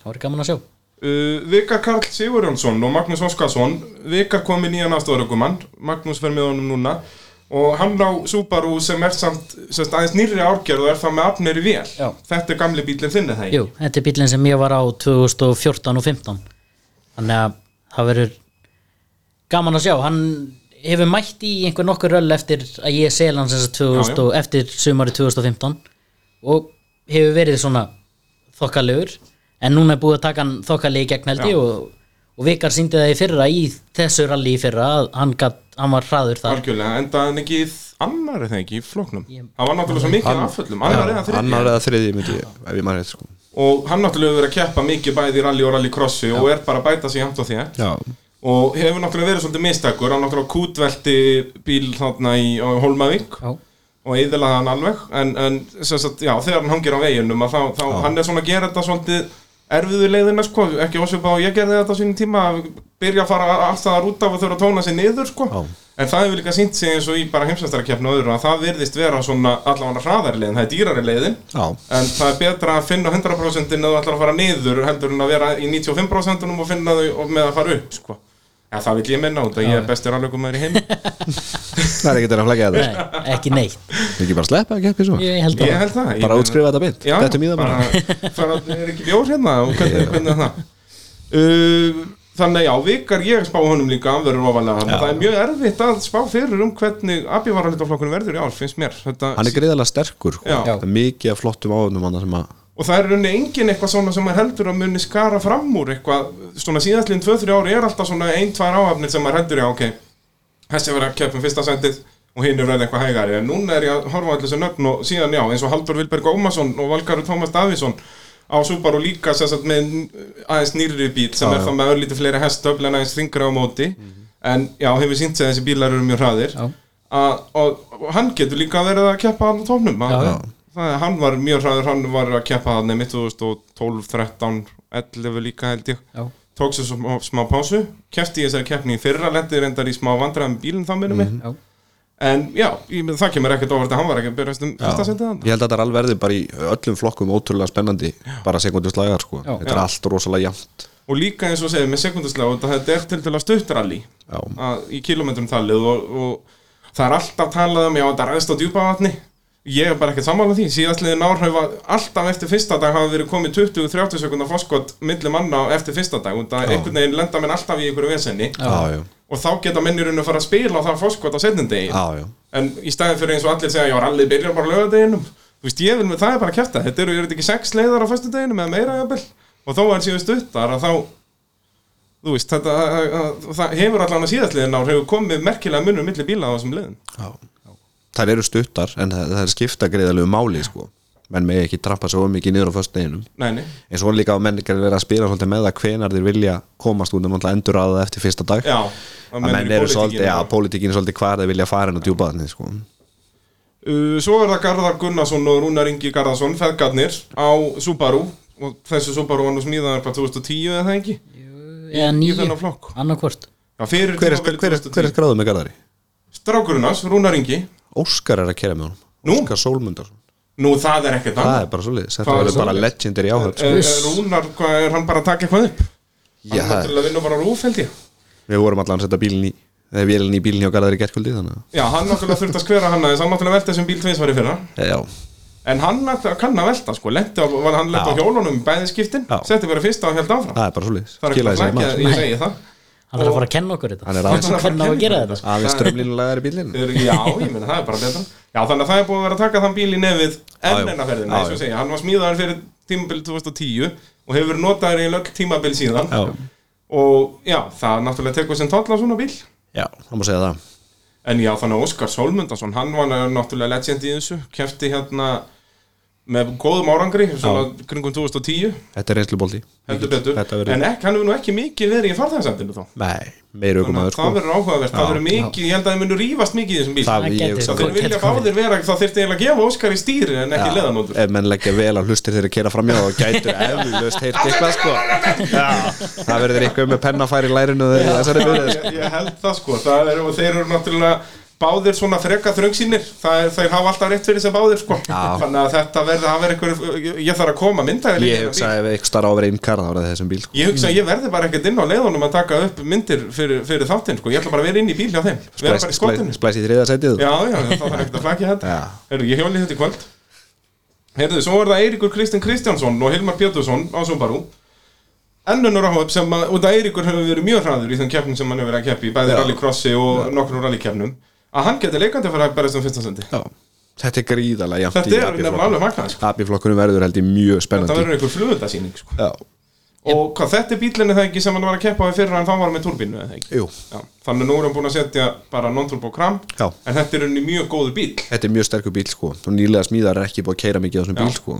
Speaker 3: það var gaman að sjá
Speaker 1: Uh, Vika Karl Sigurjónsson og Magnús Óskarsson Vika kom í nýjan afstöðarökumann Magnús fer með honum núna og hann á Subaru sem er samt sérst, aðeins nýrri árgerð og er það með afnir í vél
Speaker 3: Já.
Speaker 1: þetta er gamli bílinn þinni þegar
Speaker 3: Jú, þetta er bílinn sem ég var á 2014 og 15 þannig að það verður gaman að sjá, hann hefur mætt í einhver nokkur röll eftir að ég sel hans þess að 2000 og eftir sumari 2015 og hefur verið svona þokkalegur en núna er búið að taka hann þokkalegi í gegn held
Speaker 1: Já.
Speaker 3: ég og, og Vikar síndi það í fyrra í þessu ralli í fyrra að hann, gat, hann var hraður þar
Speaker 1: algjörlega, enda hann ekki annar er það ekki í floknum
Speaker 3: Ég-
Speaker 1: hann var náttúrulega svo mikið
Speaker 2: Ann-
Speaker 1: afföllum annar eða þriðja
Speaker 2: annar eða þriði myndi ég, ef ég maður sko.
Speaker 1: og hann náttúrulega hefur verið að keppa mikið bæði í rally og rallycrossi og er bara að bæta sig jæmt og þér
Speaker 2: já,
Speaker 1: og hefur náttúrulega verið svolítið mistakur hann náttúrulega kútvelti bíl þarna í á Hólmavík
Speaker 3: Já,
Speaker 1: og eðilaði hann alveg en, en sem sagt, já, þegar hann hangir á veginum að þá, þá hann er svona að gera þetta svolítið erfiðu leiðina sko, ekki ósvipað og ég gerði þetta á sínum tíma að byrja að fara allstaðar út af og þurfa að tóna sig niður sko
Speaker 2: Já.
Speaker 1: en það hefur líka sínt sig eins og í bara heimsvæstarakefni og öðru að það virðist vera svona allavega hraðari leiðin, það er dýrari leiðin
Speaker 2: já,
Speaker 1: en það er betra að finna 100% en þú ætlar að fara niður heldur en að vera í 95% og finna þau og með að fara upp sko. ja, það vil ég minna út að ég er bestur alvegumæður í heim
Speaker 2: það er ekki þeirra að flækja
Speaker 3: nei,
Speaker 2: þetta
Speaker 3: ekki neitt
Speaker 2: ekki bara sleppa að keppi svo
Speaker 3: ég held að
Speaker 1: ég held það ég
Speaker 2: bara
Speaker 1: meina-
Speaker 2: útskrifa þetta beint,
Speaker 1: Já,
Speaker 2: þetta er mýða bara
Speaker 1: bara fara, er ekki bjór hérna og hvernig, hvernig er það uh, þannig að já, vikar ég spá honum líka anverður ofalega hann,
Speaker 2: Já.
Speaker 1: það er mjög erfitt að spá fyrir um hvernig abívaralitaflokkurinn verður í ár, finnst mér þetta,
Speaker 2: hann er gríðalega sterkur sko.
Speaker 1: Já.
Speaker 2: Það er mikið af flottum áðunum hann sem að
Speaker 1: og það er unni engin eitthvað svona sem maður heldur að muni skara fram úr eitthvað, svona síðastlinn 2-3 ári er alltaf svona 1-2 áhafnir sem maður heldur já, ok, þessi verður að keppa um fyrsta sendið og hinn er verið eitthvað hægari en núna er ég að horfa allir þessu nöfn og síðan já eins og Haldur Vilberg Ómarsson og Valgarur Tómas Davíðsson á Subaru líka sem sagt, með aðeins nýrri bíl sem er það með örlítið fleiri hestöfl en aðeins þingra á móti en já hefur sínt sig að þessi bílar eru mjög hraðir
Speaker 3: Mhm. Já.
Speaker 1: að, og, og hann getur líka verið að keppa hann á tónum
Speaker 3: Já, já.
Speaker 1: Það, er- hann var mjög hraður, hann var að keppa hann nefnir 2012, 13, 11 líka held ég
Speaker 3: Já.
Speaker 1: tók sér smá, smá pásu kefti í þessari keppni í fyrra, lendi reyndar í smá vandræðum bílum þá minnum mig
Speaker 3: Já.
Speaker 1: en já, ég, meina, það kemur ekkert ofart að hann var ekki að byrja um fyrsta sendið hann
Speaker 2: ég held að þetta er alveg verði bara í öllum flokkum ótrúlega spennandi, bara sekundu slagar sko.
Speaker 3: Já.
Speaker 2: þetta er
Speaker 1: Já.
Speaker 2: allt rosalega jæmt
Speaker 1: og líka eins og segir með sekundaslega þetta er til til að stuttralli
Speaker 2: já,
Speaker 1: í kilometrum talið og, og það er alltaf talað um já, þetta ræðst á djúpa vatni Ég er bara ekkert sammála því, síðastliðin ár hafa alltaf eftir fyrsta dag hafa verið komið 20-30 sekundar fórskot milli manna eftir fyrsta dag og það
Speaker 2: Já.
Speaker 1: einhvern veginn lenda menn alltaf í einhverju vesenni
Speaker 2: já, já,
Speaker 1: og þá geta mennirinn að fara að spila á það fórskot á setnindegi
Speaker 2: já, já.
Speaker 1: en í staðin fyrir eins og allir segja já, allir byrjar bara á lögadeginum þú veist, ég vil með það er bara að kjarta þetta eru, eru þetta ekki sex leiðar á föstudeginum eða meira jafnvel og þó er síðan stuttar að þá þú veist, þetta að- að- það hefur allan að síðastliðin ár hefur komið merkilega munur milli bíla á þessum leiðin
Speaker 2: Það eru stuttar en það, það er skipta greiðalegu máli sko. menn megi ekki trappa svo mikið niður á föstudeginum
Speaker 1: Nei, nei,
Speaker 2: en svo er líka að menn ekki að vera að spila svolítið með það hvenar þeir vilja komast út um alltaf endur að það eftir fyrsta dag
Speaker 1: já
Speaker 2: að
Speaker 1: í
Speaker 2: menn eru
Speaker 1: pólitíkinni.
Speaker 2: svolítið, já, pólitíkin er svolítið hvar þeir vilja fara en að djúpa þannig sko.
Speaker 1: Uh, Svo er það Garðar Gunnarsson og Rúnar Ingi Garðarsson, feðgarnir á Subaru og þessu Subaru var nú smíðaður hvað 2010 eða það ekki
Speaker 3: eða
Speaker 1: í þennan
Speaker 3: nýju,
Speaker 1: flokk.
Speaker 3: annarkvort
Speaker 1: Já, fyrir
Speaker 2: hver, er,
Speaker 1: tímabilið
Speaker 2: hver, er, hver er
Speaker 1: 2010.
Speaker 2: skráðu með Garðari?
Speaker 1: Strákurinn hans, Rúnar Ingi
Speaker 2: Óskar er að kera með honum
Speaker 1: Nú?
Speaker 2: Óskar Sólmundarsson,
Speaker 1: Nú það er ekkert
Speaker 2: það
Speaker 1: annað
Speaker 2: er bara svolítið þetta
Speaker 1: Það er
Speaker 2: verður bara
Speaker 1: svoleiðis.
Speaker 2: legendary áhörd
Speaker 1: Er-
Speaker 2: sko.
Speaker 1: er Rúnar, hvað er hann bara að taka eitthvað upp?
Speaker 2: Já,
Speaker 1: Hann er til að vinna bara rúf held ég
Speaker 2: við vorum allan að setja bílinn í eða vélinn í bílinn hjá Garðari gerkvöldi þannig
Speaker 1: Já, hann náttúrulega þurfti að skvera hann aðeins, hann náttúrulega velta þessum bíl tvinsværi fyrra
Speaker 2: að Eh, já,
Speaker 1: En hann náttúrulega kann að velta sko, lenti á, var- hann lenti á
Speaker 2: Já.
Speaker 1: hjólunum í bæði skiptin,
Speaker 2: Já.
Speaker 1: setti bara fyrsta og held áfram
Speaker 2: það er bara svolítið
Speaker 1: Það er ekki
Speaker 2: skilaði
Speaker 1: að
Speaker 2: sér
Speaker 1: flækja,
Speaker 2: maður
Speaker 1: ég segi það
Speaker 3: hann þarf
Speaker 1: Og-
Speaker 3: að fara að kenna okkur þetta
Speaker 2: Hann er aðeins-
Speaker 3: að kenna að gera þetta sko.
Speaker 2: aðeins strömlinulegar í bílinn
Speaker 1: Þeir- Já, ég meina, það er bara betra Já, þannig að það er búið að vera að taka þann bíl í nefið
Speaker 2: Já,
Speaker 1: enn
Speaker 2: já.
Speaker 1: enna ferðina,
Speaker 2: Já,
Speaker 1: eins og
Speaker 2: já.
Speaker 1: segja Hann var smíðaður fyrir tímabil 2010 og hefur verið notaður í öll tímabil síðan
Speaker 2: já,
Speaker 1: og já, það náttúrulega tekur sem tolla svona bíl
Speaker 2: já, það má segja það
Speaker 1: en já, þannig að Óskar Sólmundarsson hann var náttúrulega legend í þessu kefti hérna með góðum árangri, svona kringum 2010
Speaker 2: þetta er reynslu bólti
Speaker 1: heldur betur,
Speaker 2: þetta verður-
Speaker 1: en ekki, hann hefur nú ekki mikið verið í farþæðsendinu þá
Speaker 2: nei,
Speaker 1: Þannig að
Speaker 2: meira
Speaker 1: það
Speaker 2: aukumæður sko.
Speaker 1: verður áhugavert, það
Speaker 2: Já,
Speaker 1: verður mikið, ég held að þið munur rífast mikið í þessum bíl
Speaker 2: Það-
Speaker 3: Það
Speaker 2: ég-
Speaker 3: gæti
Speaker 1: Svo
Speaker 3: sko-
Speaker 1: þeir vilja
Speaker 3: gæti komið.
Speaker 1: báðir vera, þá þyrfti eiginlega að gefa Óskar í stýri en ekki leðanótur
Speaker 2: ef menn leggja vel á hlustir þeirra kera framjá og gætur eflust heilt eitthvað sko já, það verður eitthvað um með pennafæri í lærinu þegar þessari byrðið sko.
Speaker 1: ég, ég held það sko, það er, og þeir eru náttúrulega báðir svona freka þröngsýnir það er, þeir hafa alltaf rétt fyrir sem báðir sko
Speaker 2: Já.
Speaker 1: þannig að þetta verður, það verður einhver ég, ég þarf að koma hérna, myndaðir
Speaker 2: ég hugsa ef eitthvað starf á að vera einn karð þá verður þessum bíl sko.
Speaker 1: Ég hugsa að ég verði bara ekkert inn á leiðunum að taka upp myndir fyrir, fyrir þáttinn sko, ég ætla bara að vera inn í bíl hjá þeim vera bara í skottinu
Speaker 2: splæs í þriða setið
Speaker 1: Já, já, þá þarf ekkert að flækja þetta
Speaker 2: Já.
Speaker 1: Heyrðu, ég hjóli þetta í kvöld Heyrðu, svo er það Eiríkur Kristján Kristjánsson og Hilmar Pétursson á Subaru Ennunur áhaup sem að, út af Eiríkur hefur verið mjög hraður í þeim keppnum sem hann hefur verið að keppi í bæði rallycrossi og nokkrum rallykeppnum að hann geti leikandi að fara að berjast um fyrsta sendi
Speaker 2: Já. þetta er gríðalega jafnt
Speaker 1: Þetta
Speaker 2: í
Speaker 1: er nefnilega
Speaker 2: AB-flokkunum.
Speaker 1: alveg magnað sko.
Speaker 2: AB-flokkunum verður held ég mjög
Speaker 1: Þetta
Speaker 2: spennandi
Speaker 1: verður einhver flugundasýning sko.
Speaker 2: Já.
Speaker 1: Og hvað þetta er bílinni það ekki sem hann var að keppa á í fyrra en þá var hann með turbínu eða ekki
Speaker 2: Jú.
Speaker 1: Já, þannig að nú er hann búin að setja bara non-turbo kram
Speaker 2: Já.
Speaker 1: en þetta er henni mjög góður bíl
Speaker 2: þetta er mjög sterkur bíl sko og nýlega smíðar er ekki búið að keira mikið á þessum
Speaker 1: Já.
Speaker 2: bíl sko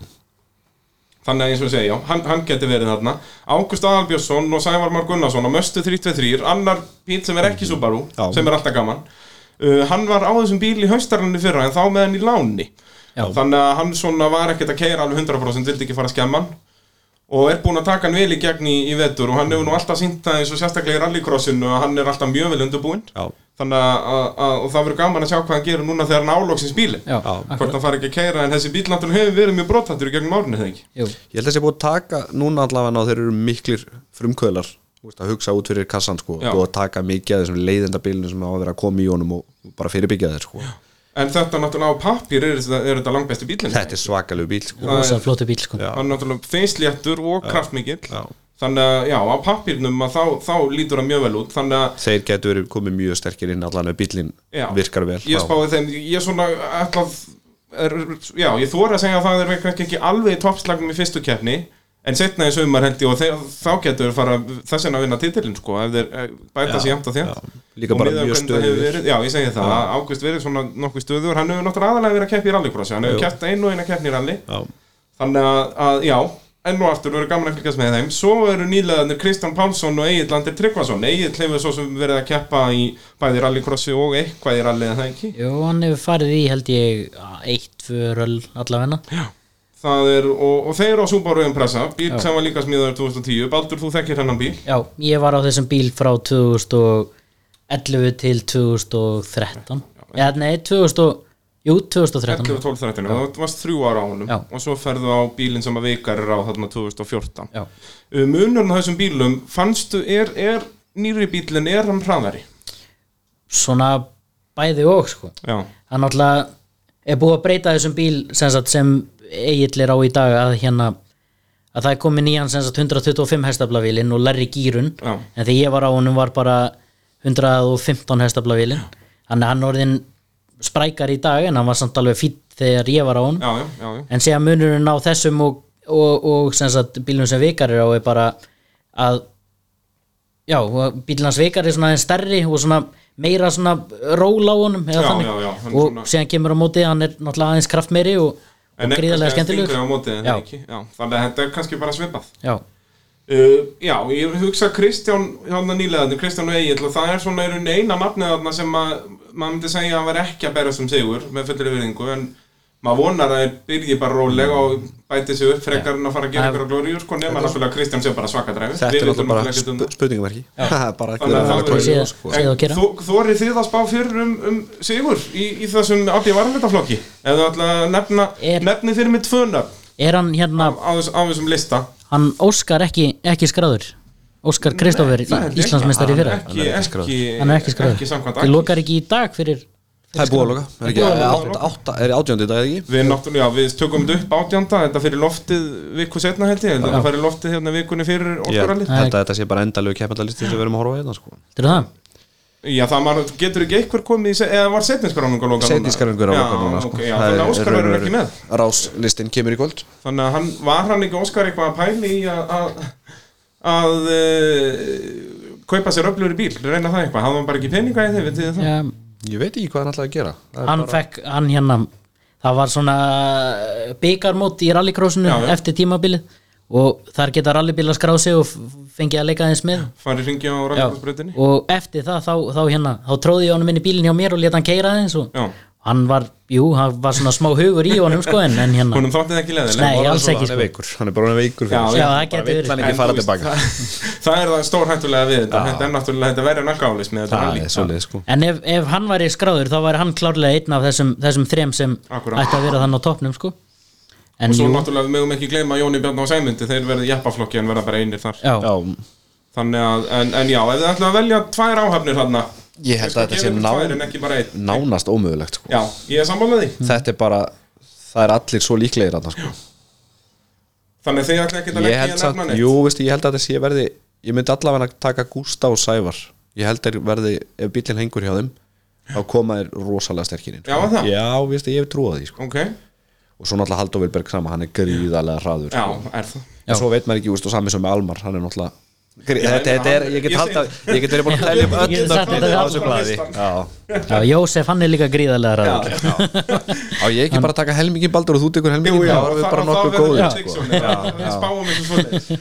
Speaker 1: þannig að eins og ég segja, já, hann, hann geti verið þarna Ágúst Aðalbjörnsson og Sævar Már Gunnarsson á Möstu 323, annar bíl sem er ekki Subaru,
Speaker 2: Já.
Speaker 1: sem er alltaf gaman uh, hann var á þessum bíl í haustarlunni fyrra en þá með hann í láni
Speaker 3: Já.
Speaker 1: þannig að hann svona var ekkert að keira alveg 100% vildi ekki fara að skemma hann og er búin að taka hann vel í gegn í, í vetur og hann hefur nú alltaf sýnt það eins og sérstaklega í rallycrossinu að hann er alltaf mjög vel undurbúinn
Speaker 2: Já.
Speaker 1: þannig að, að, að og það verður gaman að sjá hvað hann gerir núna þegar hann álóksins bílinn
Speaker 3: Já,
Speaker 1: hvort hann fari ekki að keira en þessi bíl náttúrulega hefur verið mjög brotandur í gegnum árinu þegar ekki
Speaker 3: Jú,
Speaker 2: ég held að þessi búið að taka núna allavega og þeir eru miklir frumkvöðlar þú veist, að hugsa út fyrir kassan sko
Speaker 1: Já.
Speaker 2: og taka mikið af þessum leiðendabilinu sem á að vera að koma í honum og bara fyrirbyggja þeir sko
Speaker 1: En þetta náttúrulega á pappir er, þetta- er þetta langbæsti bílinn
Speaker 2: þetta er svakalegu bíl sko
Speaker 1: Það er-
Speaker 3: rosa flóti bíl sko
Speaker 2: Já.
Speaker 1: Hann er náttúrulega feysléttur og kraftmikill
Speaker 2: Já.
Speaker 1: Þannig að já, á pappirnum að þá, þá lítur það mjög vel út Þannig að
Speaker 2: þeir getur verið komið mjög sterkir inn allan ef bílinn
Speaker 1: já,
Speaker 2: virkar vel
Speaker 1: Ég
Speaker 2: Já.
Speaker 1: spáði þeim, ég svona ætlað er, Já, ég þóra að segja að það er kannski ekki alveg í toppslagnum í fyrstu keppni En setna í sumar held ég og þeir, þá getur fara þess vegna að vinna titilinn sko Ef þeir eh, bæta
Speaker 2: Já,
Speaker 1: sér jæmt og þér
Speaker 2: já. Líka bara mjög stöðugir.
Speaker 1: Já, ég segi það, að Ágúst verið svona nokkuð stöður Hann hefur náttúrulega aðalega verið að keppa í rallycrossi Hann hefur
Speaker 2: Jú.
Speaker 1: keppt einu og eina keppni í rally
Speaker 2: Já.
Speaker 1: Þannig að, að já, enn og aftur verður gaman að fylgjast með þeim Svo eru nýlegaðanir Kristján Pálsson og Egil Landir Tryggvason Egil hefur svo sem verið að keppa í bæði rallycrossi og eitthvað í rally eða það ekki
Speaker 3: Jú, hann hefur farið í held ég að, eitt, tvö röll allavegna
Speaker 1: Það er, og, og þeir eru á Subaru Impressa Bíl
Speaker 3: Já.
Speaker 1: sem var líka smíðaður 2010 Baldur, þú þekkir hennan bíl
Speaker 3: Já, ég var á þessum bíl frá 2011 til 2013 Já, nei, 2000 og- Jú, 2013
Speaker 1: 11 og 12 13 og það varst þrjú ára á honum
Speaker 3: Já.
Speaker 1: og svo ferðu á bílinn sem að veikar er á þarna 2014
Speaker 3: Já,
Speaker 1: Um, Munurinn á þessum bílum, fannstu, er, er nýri bílinn, er hann hraðari?
Speaker 3: svona bæði og sko
Speaker 1: Já,
Speaker 3: hann náttúrulega er búið að breyta þessum bíl sem, sagt, sem eigillir á í dag að hérna að það er komið nýjan sem sagt 125 hestaflavílin og lærri gýrun
Speaker 1: Já.
Speaker 3: en þegar ég var á honum var bara 115 hestaflavílin hann er hann orðin sprækar í dag en hann var samt alveg fýtt þegar ég var á honum
Speaker 1: já, já, já, já.
Speaker 3: en segja munurinn á þessum og, og, og sem sagt, bílum sem vikar er á er bara að já, bílum hans vikar er svona aðeins stærri og svona meira svona ról á honum eða
Speaker 1: Já,
Speaker 3: þannig.
Speaker 1: já, já, hann er
Speaker 3: og
Speaker 1: svona-
Speaker 3: síðan kemur á móti hann er náttúrulega aðeins kraftmeiri og, og
Speaker 1: En er kannski
Speaker 3: gríðarlega
Speaker 1: að
Speaker 3: skemmtilegur
Speaker 1: stinga á móti, en
Speaker 3: Já.
Speaker 1: ekki. Já, þannig að þetta er kannski bara svipað
Speaker 3: já,
Speaker 1: Uh, já, ég hugsa Kristján hérna nýlegaðni, Kristján og Egil og það er svona í rauninni eina nafnið þarna sem að maður myndi segja að hann var ekki að berast um sigur með fullri virðingu en maður vonar að þeir byrji bara rólega og bæti sig upp frekar en að fara að gera
Speaker 3: Það-
Speaker 1: ykkur á glóriur sko nema náttúrulega að Kristján sé bara svaka dræfi
Speaker 2: Þetta er náttúrulega bara sp spurningamerki Bara ekki
Speaker 1: um Þannig að
Speaker 2: verið að
Speaker 1: það verður-
Speaker 2: vera kóðið
Speaker 3: Séð- séð og gera.
Speaker 1: Þórið þið að spá fyrir um, um sigur í, í þessum aflíð varumlitaflokki ef þú ætla að nefna,
Speaker 3: Er-
Speaker 1: nefni fyrir mig tvö nöfn
Speaker 3: er hann hérna
Speaker 1: á, þess, á þessum lista
Speaker 3: hann Óskar ekki, ekki skráður Óskar Kristófur,
Speaker 1: Það er ekki-
Speaker 3: Íslandsmeistari
Speaker 1: hann er
Speaker 3: fyrra
Speaker 1: ekki,
Speaker 2: Hann er ekki
Speaker 1: ekki,
Speaker 2: skráður.
Speaker 3: hann er ekki skráður,
Speaker 1: ekki samkvæmt
Speaker 3: þið
Speaker 1: Aki.
Speaker 3: lokar ekki í dag fyrir
Speaker 2: Það er búið að loka Er ekki-
Speaker 1: búið að loka.
Speaker 2: átta- átta- Er átjóndi dag eða ekki?
Speaker 1: Við náttúrulega, já, við tökum þetta upp átjanda Þetta fyrir loftið viku setna held ég Þetta fyrir loftið hérna vikunni fyrir
Speaker 2: Ég held
Speaker 1: orkuralið
Speaker 2: að þetta sé bara endalegu keppandalisti sem við erum að horfa á hérna sko.
Speaker 3: til það,
Speaker 1: Já, það maður, getur ekki einhver komið í se- Eða var setniskaránung að loka núna?
Speaker 2: Setniskarungur á
Speaker 1: Já,
Speaker 2: loka núna sko.
Speaker 1: ok, já,
Speaker 2: Það
Speaker 1: Þannig að
Speaker 2: er-
Speaker 1: Óskar verður ekki með
Speaker 2: Ráslistin kemur í kvöld
Speaker 1: Þannig að hann, var hann ekki Óskar eitthvað að pæli í að að- að e, kaupa sér öflugur bíl, reyna það eitthvað hafði hann bara ekki peninga í þeim, við þið það
Speaker 3: já,
Speaker 2: Ég veit ekki hvað hann ætlaði að gera Það er
Speaker 3: hann
Speaker 2: bara-
Speaker 3: fekk hann hérna það var svona byggarmót í rallycrossinu
Speaker 1: Já, já.
Speaker 3: eftir tímabilið og þar geta rallybílar skráð sig og f- fengið að leika aðeins með
Speaker 1: farið hringi á
Speaker 3: Já.
Speaker 1: ræðarsbreytinni
Speaker 3: og eftir það þá, þá hérna þá tróði ég honum inn í bílinn hjá mér og leta hann keira aðeins og
Speaker 1: Já.
Speaker 3: hann var, jú, hann var svona smá hugur í honum sko en, en hérna
Speaker 1: Húnum þótti það ekki leðileg
Speaker 3: Nei,
Speaker 2: Bara
Speaker 3: alls
Speaker 2: svo,
Speaker 3: ekki,
Speaker 2: Hann er
Speaker 3: sko.
Speaker 2: veikur, hann er bara orðinn veikur fyrir
Speaker 1: Já,
Speaker 2: sig.
Speaker 1: já,
Speaker 3: það
Speaker 2: Bara
Speaker 3: gæti
Speaker 2: vill
Speaker 3: verið.
Speaker 2: hann ekki
Speaker 1: En
Speaker 2: fara
Speaker 1: þú veist,
Speaker 2: tilbaka
Speaker 1: það- Það er það stórhættulega við þetta Þetta er náttúrulega þetta verður nálgáðlismi
Speaker 2: Það er svolítið sko
Speaker 3: en ef, ef hann væri skráður þá væri hann klárlega einn af þessum, þessum þrem sem
Speaker 1: Akkúrat.
Speaker 3: ætti að vera þann á toppnum sko en
Speaker 1: Og svo
Speaker 3: jú,
Speaker 1: náttúrulega við mögum ekki gleyma Jóni Bjarn og Sæmundi Þeir verða jeppaflokki en verða bara einir þar
Speaker 3: já,
Speaker 2: Já,
Speaker 1: Þannig að, en, en já, ef þið ætla að velja tvær áhafnir þarna
Speaker 2: ég held að þetta sé
Speaker 1: Gefum
Speaker 2: ná,
Speaker 1: tvær en ekki bara einn
Speaker 2: nánast ómögulegt sko.
Speaker 1: Já, ég er sammálaði
Speaker 2: Þetta er bara, það er allir svo líklegir þarna, sko.
Speaker 1: Þannig að þið ætla ekki að
Speaker 2: Ég
Speaker 1: leggja í
Speaker 2: held
Speaker 1: að
Speaker 2: satt,
Speaker 1: nefna neitt
Speaker 2: jú veist, ég held að þetta sé verði Ég myndi allavega að taka Gústa og Sævar Ég held að verði, ef bíllinn hengur hjá þeim Þá koma þér rosalega sterkirinn
Speaker 1: Já, það?
Speaker 2: Já, veist, ég hef trúað því sko.
Speaker 1: Ok,
Speaker 2: Og svo náttúrulega Halldór Vilberg sama, hann er gríðarlega hraður
Speaker 1: já,
Speaker 2: sko.
Speaker 1: er það
Speaker 3: Já.
Speaker 2: En svo veit maður ekki, veist, og sami sem með Almar Hann er náttúrulega Grí-
Speaker 1: Já,
Speaker 2: Þetta,
Speaker 1: en
Speaker 2: þetta er,
Speaker 1: hann-
Speaker 2: ég get,
Speaker 1: ég
Speaker 2: halda, ég get verið búin að tæla
Speaker 3: Ég
Speaker 2: upp
Speaker 3: get
Speaker 2: öll
Speaker 3: sagt
Speaker 2: nöfnin
Speaker 3: þetta
Speaker 2: á
Speaker 3: á
Speaker 2: þessu blaði Já,
Speaker 3: já, Jósef hann er líka gríðarlega ræður
Speaker 1: Já,
Speaker 2: á ég ekki bara að taka helmingin baldur og þú tekur helmingin, þá erum við bara nokkuð
Speaker 1: góðir
Speaker 2: góðir sko.
Speaker 1: Við spáum eins og svoleiðis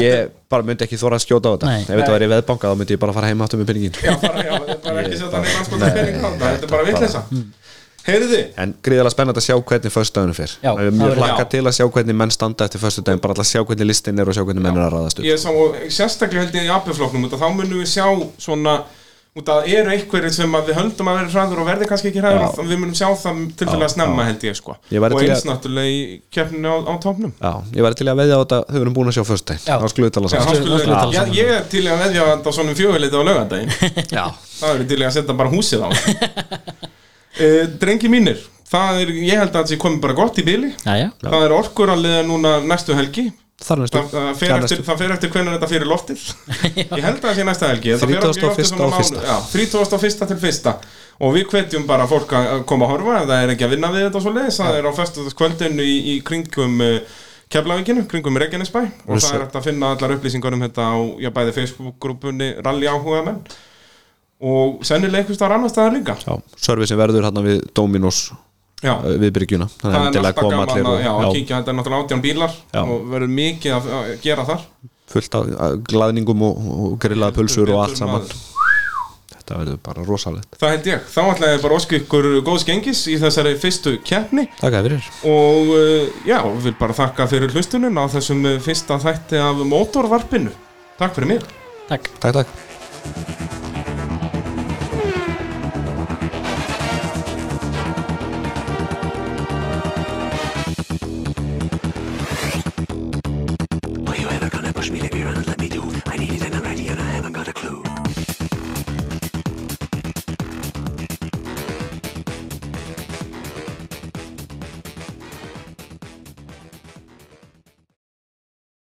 Speaker 2: Ég bara myndi ekki þóra að skjóta á þetta
Speaker 3: Nei.
Speaker 2: Ef þetta væri veðbanka þá myndi ég bara fara heim aftur með penningin
Speaker 1: Já, bara, já, bara ekki setja neina skoða
Speaker 2: Nei,
Speaker 1: pening á þetta Þetta er bara
Speaker 2: bara- Hmm.
Speaker 1: vitleisa Heyrðu,
Speaker 2: En gríðarlega spennandi að sjá hvernig föstudaginu fer
Speaker 3: Já,
Speaker 2: Ég er
Speaker 3: það
Speaker 2: mjög
Speaker 3: verður-
Speaker 2: hlakka
Speaker 1: Já.
Speaker 2: til að sjá hvernig menn standa eftir föstudagin bara alltaf að sjá hvernig listin er og sjá hvernig menn er að raðast upp
Speaker 1: ég sá, og sérstaklega held ég í AP-floknum út að þá munum við sjá svona út að eru einhverjir sem að við höldum að vera hræður og verði kannski ekki hræður og við munum sjá það tilfellega snemma held ég sko
Speaker 2: Ég væri
Speaker 1: og
Speaker 2: til
Speaker 1: eins
Speaker 2: að-
Speaker 1: náttúrulega í keppninu á, á topnum
Speaker 2: Já, ég væri til í að veðja á þetta þau erum búin að sjá föstudagin
Speaker 3: Já.
Speaker 2: Þá skulum við tala
Speaker 1: Já, þá
Speaker 2: saman
Speaker 1: skulum
Speaker 3: skulum við tala
Speaker 1: við- Já,
Speaker 3: saman.
Speaker 1: ég er til í að veðja á þetta á svonum fjöguleiti á laugardaginn
Speaker 2: Já,
Speaker 1: það eru til í að setja bara húsið á uh, drengi mínir það er, ég held að það sé komið bara gott í bili
Speaker 3: já, já,
Speaker 1: það er orkur að liða núna næstu helgi
Speaker 2: þar næstu
Speaker 1: Það, það, fer
Speaker 2: Þar
Speaker 1: eftir,
Speaker 2: næstu.
Speaker 1: það fer eftir hvernig þetta fyrir loftið Ég held að það sé næsta helgi þetta fer eftir
Speaker 2: 31.
Speaker 1: loftið svona
Speaker 2: og
Speaker 1: mánu-
Speaker 2: fyrsta.
Speaker 1: Já, 31. til 1. Og við hvetjum bara fólk að að koma að horfa ef það er ekki að vinna við þetta og svo leiðis Það er á föstudagskvöldinu í, í kringum uh, Keflavíkinu, kringum Reykjanesbæ Og
Speaker 2: Og
Speaker 1: það
Speaker 2: svo-
Speaker 1: er hægt að finna allar upplýsingar um þetta á já, bæði Facebook-grúpunni Rally áhuga menn Og sennilega einhvers staðar annars staðar líka
Speaker 2: Já, servicin verður hérna við Dominos
Speaker 1: Já,
Speaker 2: uh, við Bryggjuna Þannig
Speaker 1: það
Speaker 2: að
Speaker 1: er
Speaker 2: til að
Speaker 1: alltaf
Speaker 2: koma
Speaker 1: gaman
Speaker 2: allir
Speaker 1: að,
Speaker 2: og-
Speaker 1: já, að
Speaker 2: já,
Speaker 1: kíkja Þetta er náttúrulega átján bílar
Speaker 2: Já.
Speaker 1: og verður mikið að, að gera þar
Speaker 2: fullt af af glæðningum og, og grillaða pulsur og allt
Speaker 1: Betur
Speaker 2: saman
Speaker 1: maður.
Speaker 2: Þetta verður bara rosalegt
Speaker 1: Það held ég, þá ætla ég bara að ósku ykkur góðs gengis í þessari fyrstu keppni
Speaker 2: Takk að fyrir
Speaker 1: og uh, já, vil bara þakka fyrir hlustunin á eh, þessum uh, fyrsta þætti af mótorvarpinu Takk fyrir mig
Speaker 3: takk
Speaker 2: Takk, takk